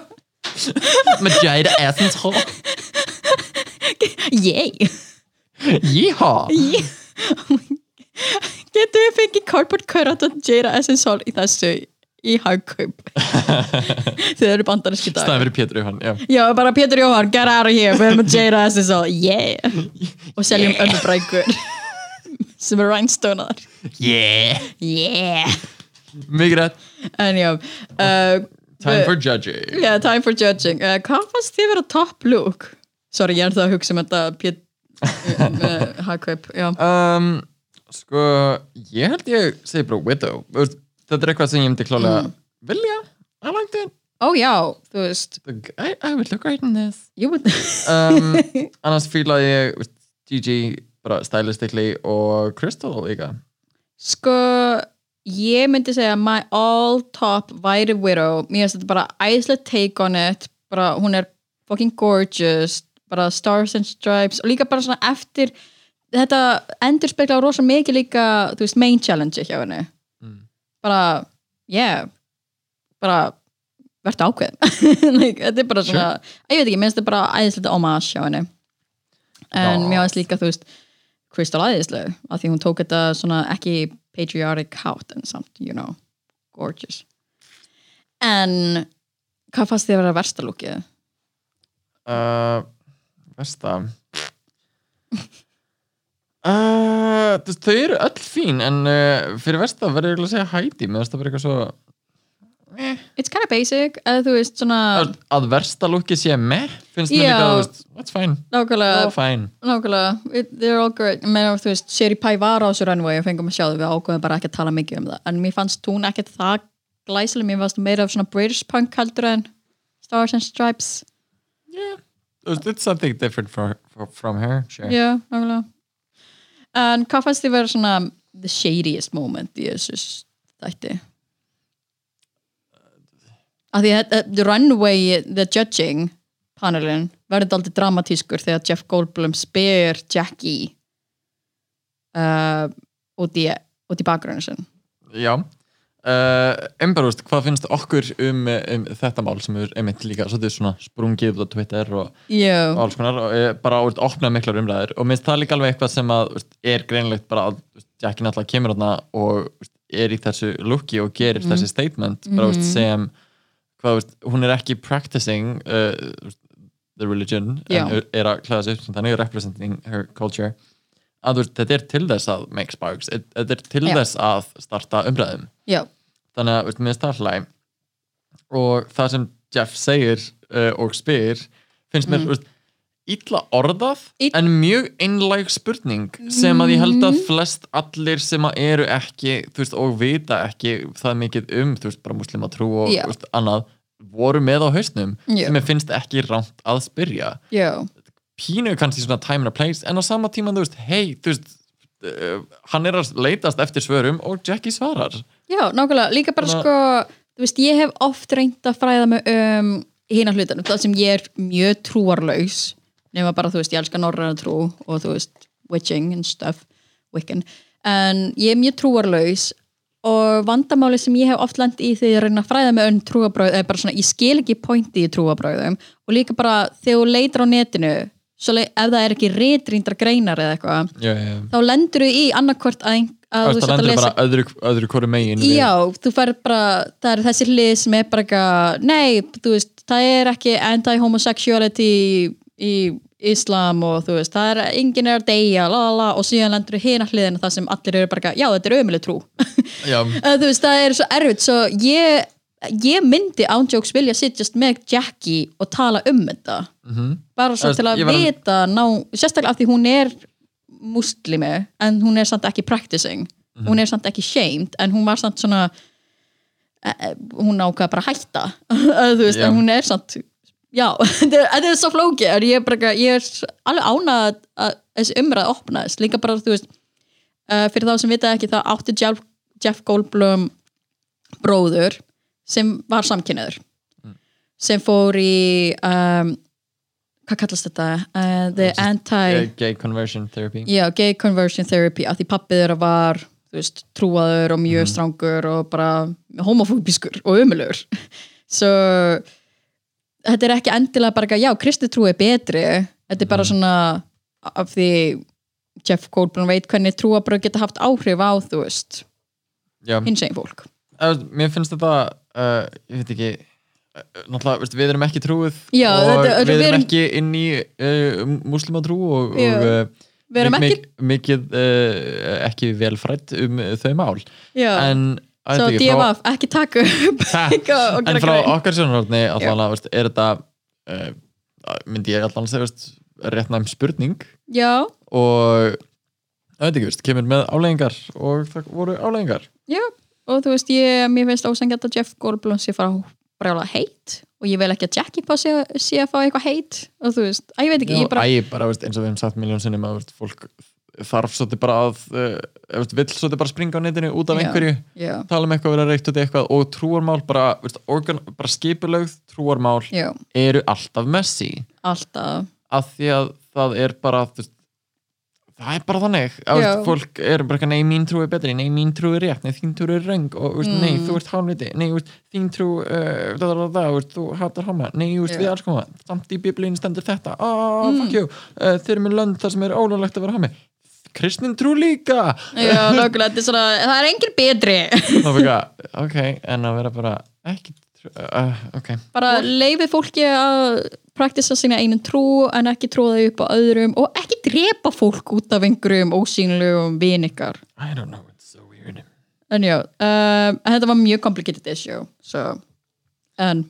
S1: Magida asshole
S2: Yay
S1: Yeehaw
S2: Getum við fengið Cardboard Cutout og Jada Essence Hall í þessu í hagkaup Þau eru bandarinski dag
S1: Stæðan fyrir Pétur Jóhann já.
S2: Já, bara Pétur Jóhann, get out of here Við erum að Jada Essence Hall, yeah Og seljum yeah. önnur brækur sem eru rhinestonear
S1: Yeah
S2: Yeah
S1: Mikið rétt
S2: En já uh,
S1: Time for judging
S2: yeah, Time for judging uh, Hvað fannst þið vera top look? Sorry, ég er það að hugsa um þetta Pétur uh, hagkaup, já
S1: um, Sko Ég held ég segi bara widow Þú veist, Þetta er eitthvað sem ég myndi klálega Vilja I liked it
S2: Ó já, þú veist
S1: The- I, I would look great in this
S2: Ég veit
S1: um, annars fíla ég þú veist, GG, bara stylistically og Crystal líka
S2: Sko, ég myndi segja að my all top væri Widow. Mér finnst þetta bara æðislega take on it. Bara, hún er fucking gorgeous. Bara stars and stripes. Og líka bara svona eftir, þetta endur spekla rosa mikið líka, þú veist, main challenge hjá henni. Bara, yeah. Bara, verður ákveðin. like, þetta er bara svona, ég veit ekki, mér finnst þetta bara æðislega homage hjá henni. En
S1: Já.
S2: mér finnst líka, þú veist, Crystal æðisleg af því hún tók þetta svona ekki patriotic hátt en samt, you know, gorgeous en hvað fannst þið að vera versta lúkið?
S1: uh, Vesta uh, þú veist, Þau eru öll fín en uh, fyrir Vesta verður ég eiginlega að segja Heidi mér finnst það bara eitthvað svo
S2: It's kind of basic, eða þú veist svona
S1: að, að versta lúki sé með finnst mér
S2: Já.
S1: líka, þú veist, that's fine
S2: nákvæmlega,
S1: uh, fine
S2: nákvæmlega it, they're all great, menn þú veist, Sherry Pie var á þessu runway og fengum að sjá þau, við ákveðum bara ekki að tala mikið um það en mér fannst hún ekkert það glæsileg, mér fannst meira af svona British punk heldur en Stars and Stripes
S1: yeah. Þú veist, it's something different for, for, from her sure.
S2: Já, nákvæmlega En hvað fannst þið vera svona the shadiest moment í þessu þætti? Af því að the runway, the judging panelin verður aldrei dramatískur þegar Jeff Goldblum spyr Jackie uh, út í, út í bakgrunni sinn
S1: Já uh, Embarúst, hvað finnst okkur um, um þetta mál sem er einmitt líka svolítið svona sprungið út á Twitter og
S2: Já,
S1: og alls konar og eh, bara úr opnað miklar umræður og minnst það líka alveg eitthvað sem að úst, er greinlegt bara að úst, Jackie náttúrulega kemur hana og úst, er í þessu lukki og gerir
S2: Mhm.
S1: þessi statement bara úst, sem hvað, úst, hún er ekki practicing uh, úst, the religion
S2: Já.
S1: en er að klæða sig upp sem þannig representing her culture að úst, þetta er til þess að make sparks it- þetta er til
S2: Já.
S1: þess að starta umræðum
S2: já,
S1: þannig að veist, mér finnst það hlæg og það sem Jeff segir uh, og spyr finnst
S2: Mm.
S1: mér veist, illa orðað
S2: Ill-
S1: en mjög einlæg spurning sem að ég held
S2: Mm.
S1: að flest allir sem að eru ekki þú veist, og vita ekki það mikið um þú veist, bara muslima trú og
S2: Já.
S1: yeah. veist, annað voru með á hausnum
S2: Já.
S1: sem mér finnst ekki rámt að spyrja
S2: já,
S1: pínu kannski svona time and a place en á sama tíma þú veist, hei þú veist, uh, hann er að leitast eftir svörum og Jackie svarar
S2: já, nákvæmlega líka bara
S1: Svona-
S2: sko, þú veist, ég hef oft reynd að fræða mig um hina hlutanum, það sem ég er mjög trúarlaus nema bara, þú veist, ég elska norræna trú og þú veist, witching and stuff wiccan, en ég er mjög trúarlaus og vandamáli sem ég hef oft lent í þegar ég reyna að fræða með önn trúabröð, eða bara svona, ég skil ekki pointi í trúabröðum og líka bara þegar þú leitar á netinu svo leið, ef það er ekki ritrýndar greinar eða eitthvað,
S1: já, já, já.
S2: þá lendur þú í annarkvort að, ein- að
S1: Það
S2: sért
S1: stendur bara öðru, öðru hverju megin við-
S2: Já, þú færð bara, það er þessi hlið sem er bara eitthvað, nei, þú veist, það er ekki anti-homosexuality í, í Islam og þú veist, það er, enginn er að deyja, la la la, og síðan lendur hina hliðina það sem allir eru bara eitthvað, já, þetta er ömuleg trú.
S1: já,
S2: Eða þú veist, það er svo erfitt, svo ég, ég myndi ándjóks vilja sittjast með Jackie og tala um þetta.
S1: mhm.
S2: Bara svo
S1: Eða,
S2: til að
S1: ég var-
S2: vita, ná, sérstaklega af því hún er muslimi, en hún er samt ekki practicing. Hún er samt ekki shamed, en hún var samt svona, e, e, hún ákvað bara að hætta. Eða þú veist,
S1: Já.
S2: en hún er samt, já, þetta er- þetta er svo flókið. en Ég er, bara, eitthvað- ég er alveg ánað að þessi umræð opnaðist. Líka bara, þú veist, uh, fyrir þá sem vita ekki þá átti Jeff, Jeff Goldblum bróður sem var samkynniður sem fór í um, hvað kallast þetta? Uh, the
S1: Just-
S2: anti
S1: Gay- Gay conversion therapy
S2: já, gay conversion therapy af því pappið þeirra var
S1: Mhm.
S2: þú veist, trúaður og mjög strangur og bara homofóbiskur og ömulegur so þetta er ekki endilega bara eitthvað, já, kristið trú er betri þetta er bara
S1: Mhm.
S2: svona af því Jeff Goldblum veit hvernig trúa bara geta haft áhrif á þú veist,
S1: já.
S2: hins einn fólk
S1: Ef- mér finnst þetta uh, ég veit ekki uh, náttúrulega, veistu, við erum ekki trúið
S2: Já,
S1: og
S2: þetta-
S1: við
S2: við
S1: erum
S2: erum-
S1: ekki inn í uh, muslima og,
S2: Já.
S1: og uh,
S2: við erum
S1: mi-
S2: ekki,
S1: mi- mikið uh, ekki velfrætt um uh, þau mál
S2: já,
S1: en, að
S2: svo
S1: veit ekki, frá-
S2: DFF, ekki taka upp
S1: Ha,
S2: eitthvað og
S1: en
S2: gera
S1: frá
S2: grein
S1: okkar sjónarhóttni allan að, veist, er þetta uh, myndi ég allan að segja, veist, réttnæm spurning
S2: já,
S1: og að veit ekki, veist, kemur með áleggingar og það voru áleggingar
S2: já, og þú veist ég, mér finnst ósengjart að Jeff Goldblum sé fara brjála heit og ég vil ekki að Jackie Pá sé, sé að fá eitthvað heit og þú veist, að ég veit ekki,
S1: Já,
S2: ég bara
S1: Æ, bara veist, eins og við hefum sagt miljón sinnum að veist, fólk þarf svolítið bara að uh, veist, vill svolítið bara springa á netinu út af
S2: Já.
S1: einhverju,
S2: já,
S1: tala um eitthvað vera reykt út í eitthvað og trúarmál bara, veist, organ, bara skipulögð trúarmál
S2: já,
S1: eru alltaf messi
S2: alltaf
S1: af því að það er bara þú veist, það er bara þannig að
S2: Já.
S1: veist, fólk er bara eitthvað, nei mín trú er betri nei mín trú er rétt, nei þín trú er röng og veist,
S2: Mm.
S1: nei þú ert hálfviti, nei veist, þín trú uh, da, da, da, da, veist, þú hatar háma nei
S2: Já.
S1: veist,
S2: Mm.
S1: við alls koma, samt í biblíun stendur þetta ah, fuck you, uh, þeir eru með lönd þar sem er ólulegt að vera hámi kristnin trú líka
S2: Já, nákvæmlega, þetta er svona, það er engin betri
S1: Þá fyrir að, ok, en að vera bara ekki trú, uh, ok
S2: bara leifið fólki að praktisa sína einin trú en ekki tróða upp á öðrum og ekki drepa fólk út af einhverjum ósýnlegum vinikar
S1: I don't know, it's so weird
S2: en já, um, en þetta var mjög complicated issue so. en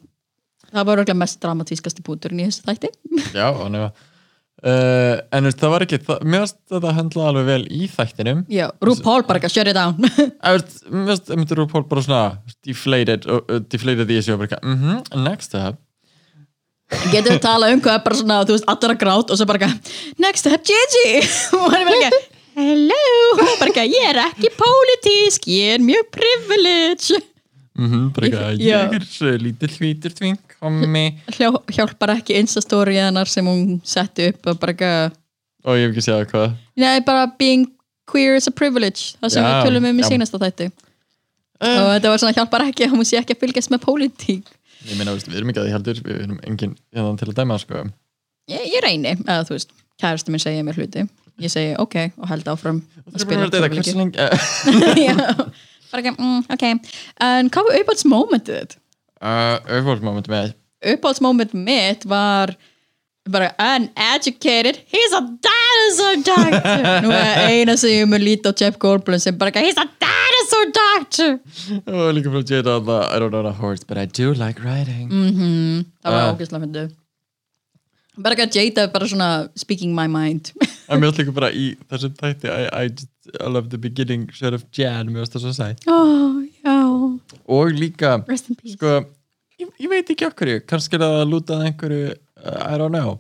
S2: það var örgulega mest dramatískasti búturinn í þessu þætti
S1: Já, og nefna uh, En veist, það var ekki, það, mér varst þetta höndla alveg vel í þættinum
S2: já, RuPaul bara ekki að shut it down
S1: En veist, Mér varst, mér varst Rúpól bara svona deflated, uh, uh, deflated í þessu og bara ekki, mhm, next up
S2: getur við tala um hvað er bara svona, þú veist, allir að grát og svo bara ekki next up Gigi og hann er bara ekki hello og bara ekki, ég er ekki pólitísk ég er mjög privilege
S1: mhm, bara ekki,
S2: Já.
S1: ég er svo lítill hvítur tving, komi
S2: Hljó, hjálpar ekki instastóri hennar sem hún setti upp og bara ekki,
S1: og ég hef ekki séð hvað
S2: nei bara being queer is a privilege, það sem
S1: Já,
S2: við tölum um í
S1: já. Eh.
S2: sínasta þætti og þetta var svona hjálpar ekki að hún sé ekki að fylgjast með pólitík
S1: Ég meina, veist, við erum ekki að því heldur, við erum engin hérna til að dæma, sko
S2: ég, ég reyni, eða þú veist kæristu minn segja mér hluti, ég segi ok og held áfram að
S1: Þú erum að
S2: spila
S1: deyta hversu
S2: tölvuleiki.
S1: lengi uh,
S2: Já. bara ekki, mm, ok en hvað var uppáhaldsmomentið þitt?
S1: uh, Öfólksmoment með
S2: uppáhaldsmoment mitt var bara uneducated he's a dinosaur doctor nú er eina sem ég mun líti á Jeff Goldblum sem bara he's a dinosaur doctor
S1: og líka frá Jada að það, I don't know a horse but I do like riding
S2: það var
S1: Ah.
S2: ógæslega myndu bara ekki að Jada er bara svona speaking my mind
S1: En mér átt líka bara í þessum tætti I, I, just, I love the beginning Sheriff Jan, mér átt það svo sætt
S2: oh, já,
S1: Og líka,
S2: rest in peace
S1: sko ég, ég veit ekki okkur, kannski er það að lúta að einhverju, uh, I don't know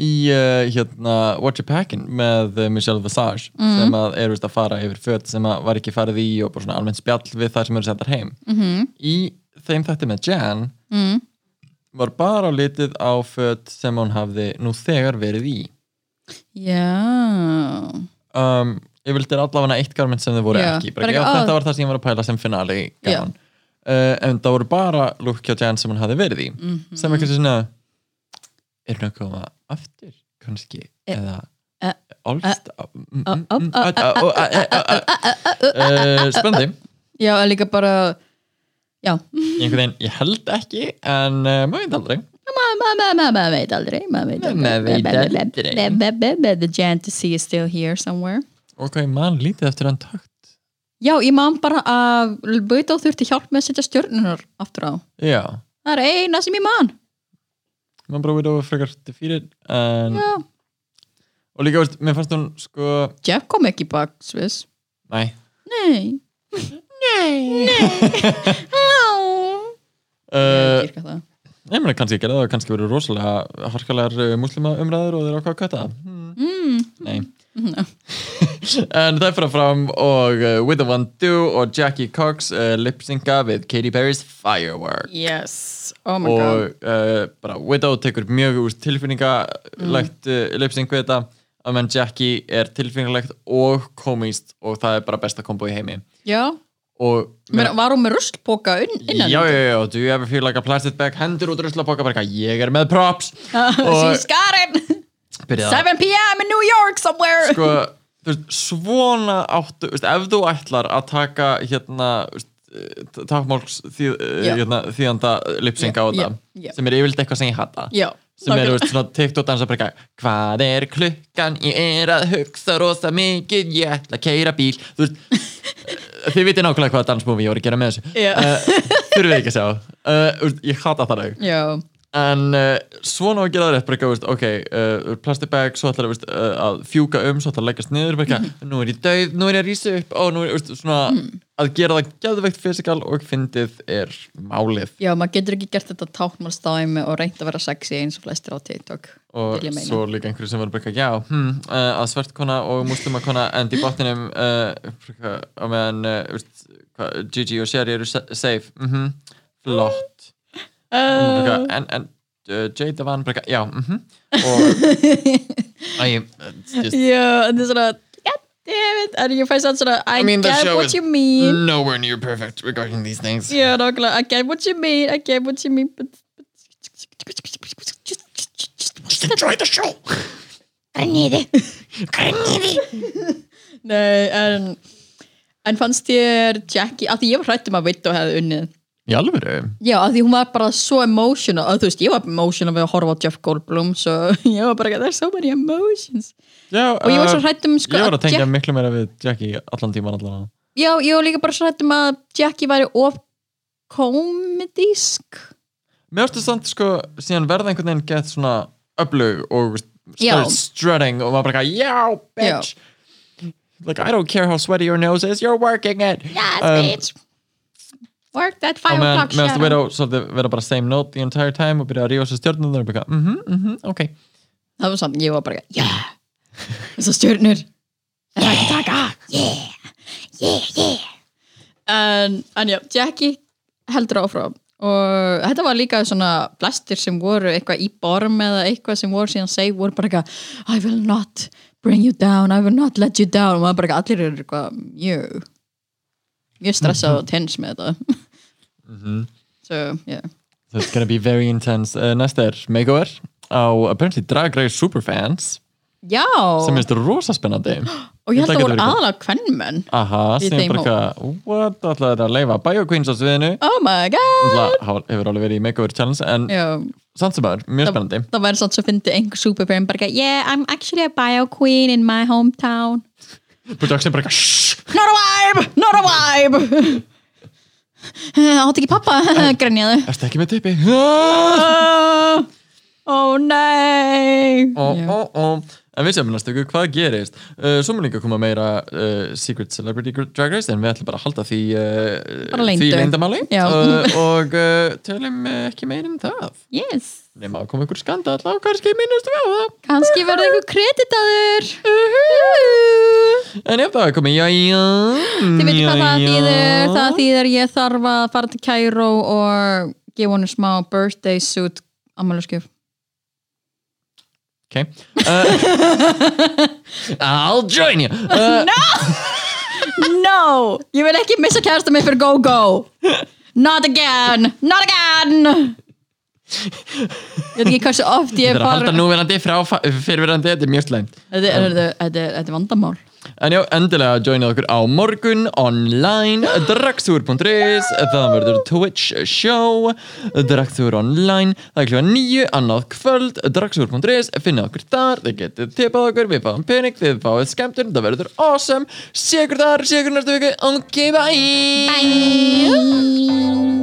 S1: í uh, hérna Watch a Packin með uh, Michelle Visage sem að er veist, að fara yfir föt sem að var ekki farið í og bara svona almennt spjall við þar sem eru settar heim -hmm. í þeim þætti með Jan mm. var bara litið á föt sem hún hafði nú þegar verið í
S2: já,
S1: um, ég vildi allavega eitt garment sem þau voru
S2: Já,
S1: ekki, bara,
S2: bara
S1: ekki, já,
S2: eitthvað,
S1: þetta
S2: "Ó."
S1: var það sem ég var að pæla sem finale
S2: Já.
S1: garment uh, en það voru bara look hjá Jan sem hann hafði verið í
S2: Mhm.
S1: sem er
S2: Mm.
S1: kannski svona er hún að koma aftur kannski eða Mm,
S2: eh,
S1: álst
S2: eh, eh,
S1: mm, spöndi
S2: já, en líka bara já,
S1: einhvern veginn, ég held ekki en eh, maður veit aldrei
S2: Ma- ma- ma- maður veit aldrei maður veit
S1: Maður veit aldrei.
S2: Be- be- be- be- the Jantasy is still here somewhere
S1: og hvað ég man lítið eftir hann takt
S2: já, ég man bara að Böðó þurfti hjálp með að setja stjörnunar aftur á
S1: já,
S2: það er eina sem ég man
S1: maður bara við það frekar defeated en,
S2: já.
S1: og líka, veist, mér fannst hún sko,
S2: Jeff kom ekki í baksviss
S1: næ
S2: nei nei nei
S1: uh,
S2: ég dýrka það.
S1: Ég meina kannski gerði það, kannski verið rosalega harkalegar muslima umræður og þeir ákvað að kvæta það. Hmm.
S2: Mm.
S1: Nei. en það fyrir fram og uh, With the One Do og Jackie Cox uh, lipsynga við Katy Perry's Firework.
S2: yes, oh my god
S1: og uh, bara Widow tekur mjög úr tilfinningalegt mm. uh, lipsyng við þetta að menn Jackie er tilfinningalegt og komist og það er bara besta kombo í heimi
S2: já,
S1: og
S2: Men, var hún með ruslpoka inn,
S1: já,
S2: innan?
S1: já, já, do you ever feel like a plastic bag hendur út ruslapoka, bara eitthvað, ég er með props og-
S2: Ah, She's got it!
S1: Byrjaði að-
S2: 7 p.m. in New York somewhere!
S1: sko, þú veist, svona áttu, þú veist, ef þú ætlar að taka hérna þú veist, eh, táknmáls þýð,
S2: Já.
S1: yeah. hérna, þýðanda lipsing
S2: Já,
S1: á þetta
S2: já, já.
S1: sem er yfirleitt eitthvað sem ég hata
S2: Já,
S1: sem er,
S2: nákvæmlega.
S1: þú veist, svona teikt og dansa bara eitthvað, hvað er klukkan, ég er að hugsa rosa mikið, ég ætla að keira bíl þú veist, eh, þið vitið nákvæmlega hvaða dansmúfi ég voru að gera með þessu
S2: Já.
S1: uh, þurfið ekki að sjá uh, þú veist, ég hata það laug
S2: Já,
S1: en uh, svona á að gera það rétt bara eitthvað, veist, ok, uh, plastic bag svo ætlar veist, uh, að fjúka um, svo ætlar að leggast niður bara eitthvað, nú er ég dauð, nú er ég að rísa upp og nú er, veist, svona, að gera það geðveikt fysikal og fyndið er málið
S2: já, maður getur ekki gert þetta tákmálstæmi og reynt að vera sexy eins og flestir á TikTok.
S1: og
S2: vil ég meina.
S1: svo líka einhverju sem var bara eitthvað, já, hm, uh, að svartkona og muslimakona endi í botninum uh, bara eitthvað, á meðan uh, veist, hva, Gigi og Sherry eru sa- safe mhm, flott Og hún bara eitthvað, en, en uh, Jada vann bara eitthvað, já, mhm og Æ, ég, it's just
S2: Já, en það er svona, god damn it, en ég fæ sann svona, I,
S1: I mean, the
S2: get
S1: show
S2: what
S1: is
S2: you mean.
S1: nowhere near perfect regarding these things
S2: Já, nákvæmlega, I get what you mean, I get what you mean, but... but- just- just- just- just-
S3: Enjoy the show. Grenade. Grenade.
S2: Nei, en... En fannst þér Jackie, af því ég var hrættum að veit og hefði unnið.
S1: í alvöru
S2: Já, af því hún var bara svo emotional, að þú veist, ég var emotional við að horfa á Jeff Goldblum, svo ég var bara, there's so many emotions.
S1: já, og
S2: ég var svo hrædd um, sko,
S1: Uh, ég var
S2: að
S1: að tengja
S2: Jack-
S1: miklu meira við Jackie allan tíman allan
S2: Já, ég var líka bara svo hrættum að Jackie væri of komedísk.
S1: mér varstu samt sko síðan verða einhvern veginn gett svona öflug og
S2: Já.
S1: started strutting og maður bara eitthvað, já, bitch like I don't care how sweaty your nose is you're working it
S3: Yes,
S1: Um,
S3: bitch.
S2: Work that
S1: og
S2: five
S1: meðan
S2: o'clock
S1: mér varstu
S2: shadow.
S1: vera, svolítið, vera bara same note the entire time og byrja að rífa sér stjörnum og bara, mhm, mhm, ok
S2: Það var samt, ég var bara, yeah, þessar stjörnur, það er ekki að taka.
S3: Yeah, yeah.
S2: En, en já, Jackie heldur áfram og þetta var líka svona flestir sem voru eitthvað í borm eða eitthvað sem voru síðan seg voru bara eitthvað I will not bring you down, I will not let you down og maður bara eitthvað, allir eru eitthvað mjög mjög stressað
S1: Mhm.
S2: og tens með þetta so, yeah
S1: So it's gonna be very intense. Uh, næst er Makeover á apparently Drag Race Superfans
S2: Já,
S1: sem finnst rosa spennandi.
S2: og ég held að
S1: þetta getur
S2: voru
S1: verið gott.
S2: aðalega kvennmenn
S1: Aha,
S2: Í
S1: sem er
S2: þeim
S1: bara eitthvað, what, ætlaði þetta að leifa Bio Queens á sviðinu?
S2: Oh my god
S1: Það hefur alveg verið í Makeover Challenge en
S2: Já,
S1: samt sem aður, mjög spennandi.
S2: það væri svona svo fyndi einhver superfirm bara eitthvað, yeah, I'm actually a bio queen in my hometown
S1: Production bara eitthvað, shhh,
S2: Not a vibe, not a vibe Átt ekki pappa, grenjaðu
S1: erstu ekki með tippi? Ah!
S2: Ó oh, nei
S1: Ó, ó, ó. En við sjáum næstu ykkur hvað gerist. Uh, svo mun líka koma meira uh, Secret Celebrity Drag Race en við ætlum bara að halda því, uh,
S2: Bara leyndu.
S1: því leyndamáli
S2: Já.
S1: uh, og uh, tölum uh, ekki meir um það.
S2: Yes,
S1: nema að koma ykkur skandal á kannski minnust við á það
S2: kannski verður einhver kreditaður
S1: en ef það er komið, já, já
S2: Þið veitir hvað
S1: já,
S2: það
S1: já.
S2: þýðir Það þýðir ég þarf að fara til Cairo og gefa honum smá birthday suit ammæluskjöf
S1: ok uh, I'll join you uh,
S2: No, ég vil ekki missa kærastu mig fyrir go-go Not again, not again Ég veit ekki hversu oft ég
S1: það er að
S2: bara
S1: halda núverandi frá fa- fyrirverandi, þetta er mjög slæmt
S2: Þetta er, þetta er- þetta er, þetta er vandamál
S1: en já, endilega joinið okkur á morgun online, dragsúr.is það verður Twitch show dragsúr online það er kljóða nýju, annað kvöld dragsúr.is, finna okkur þar þið getið tippað okkur, við fáum pening þið fáið skemmtun, það verður awesome sé ykkur þar, sé ykkur næstu viku ok, bye
S3: Bye.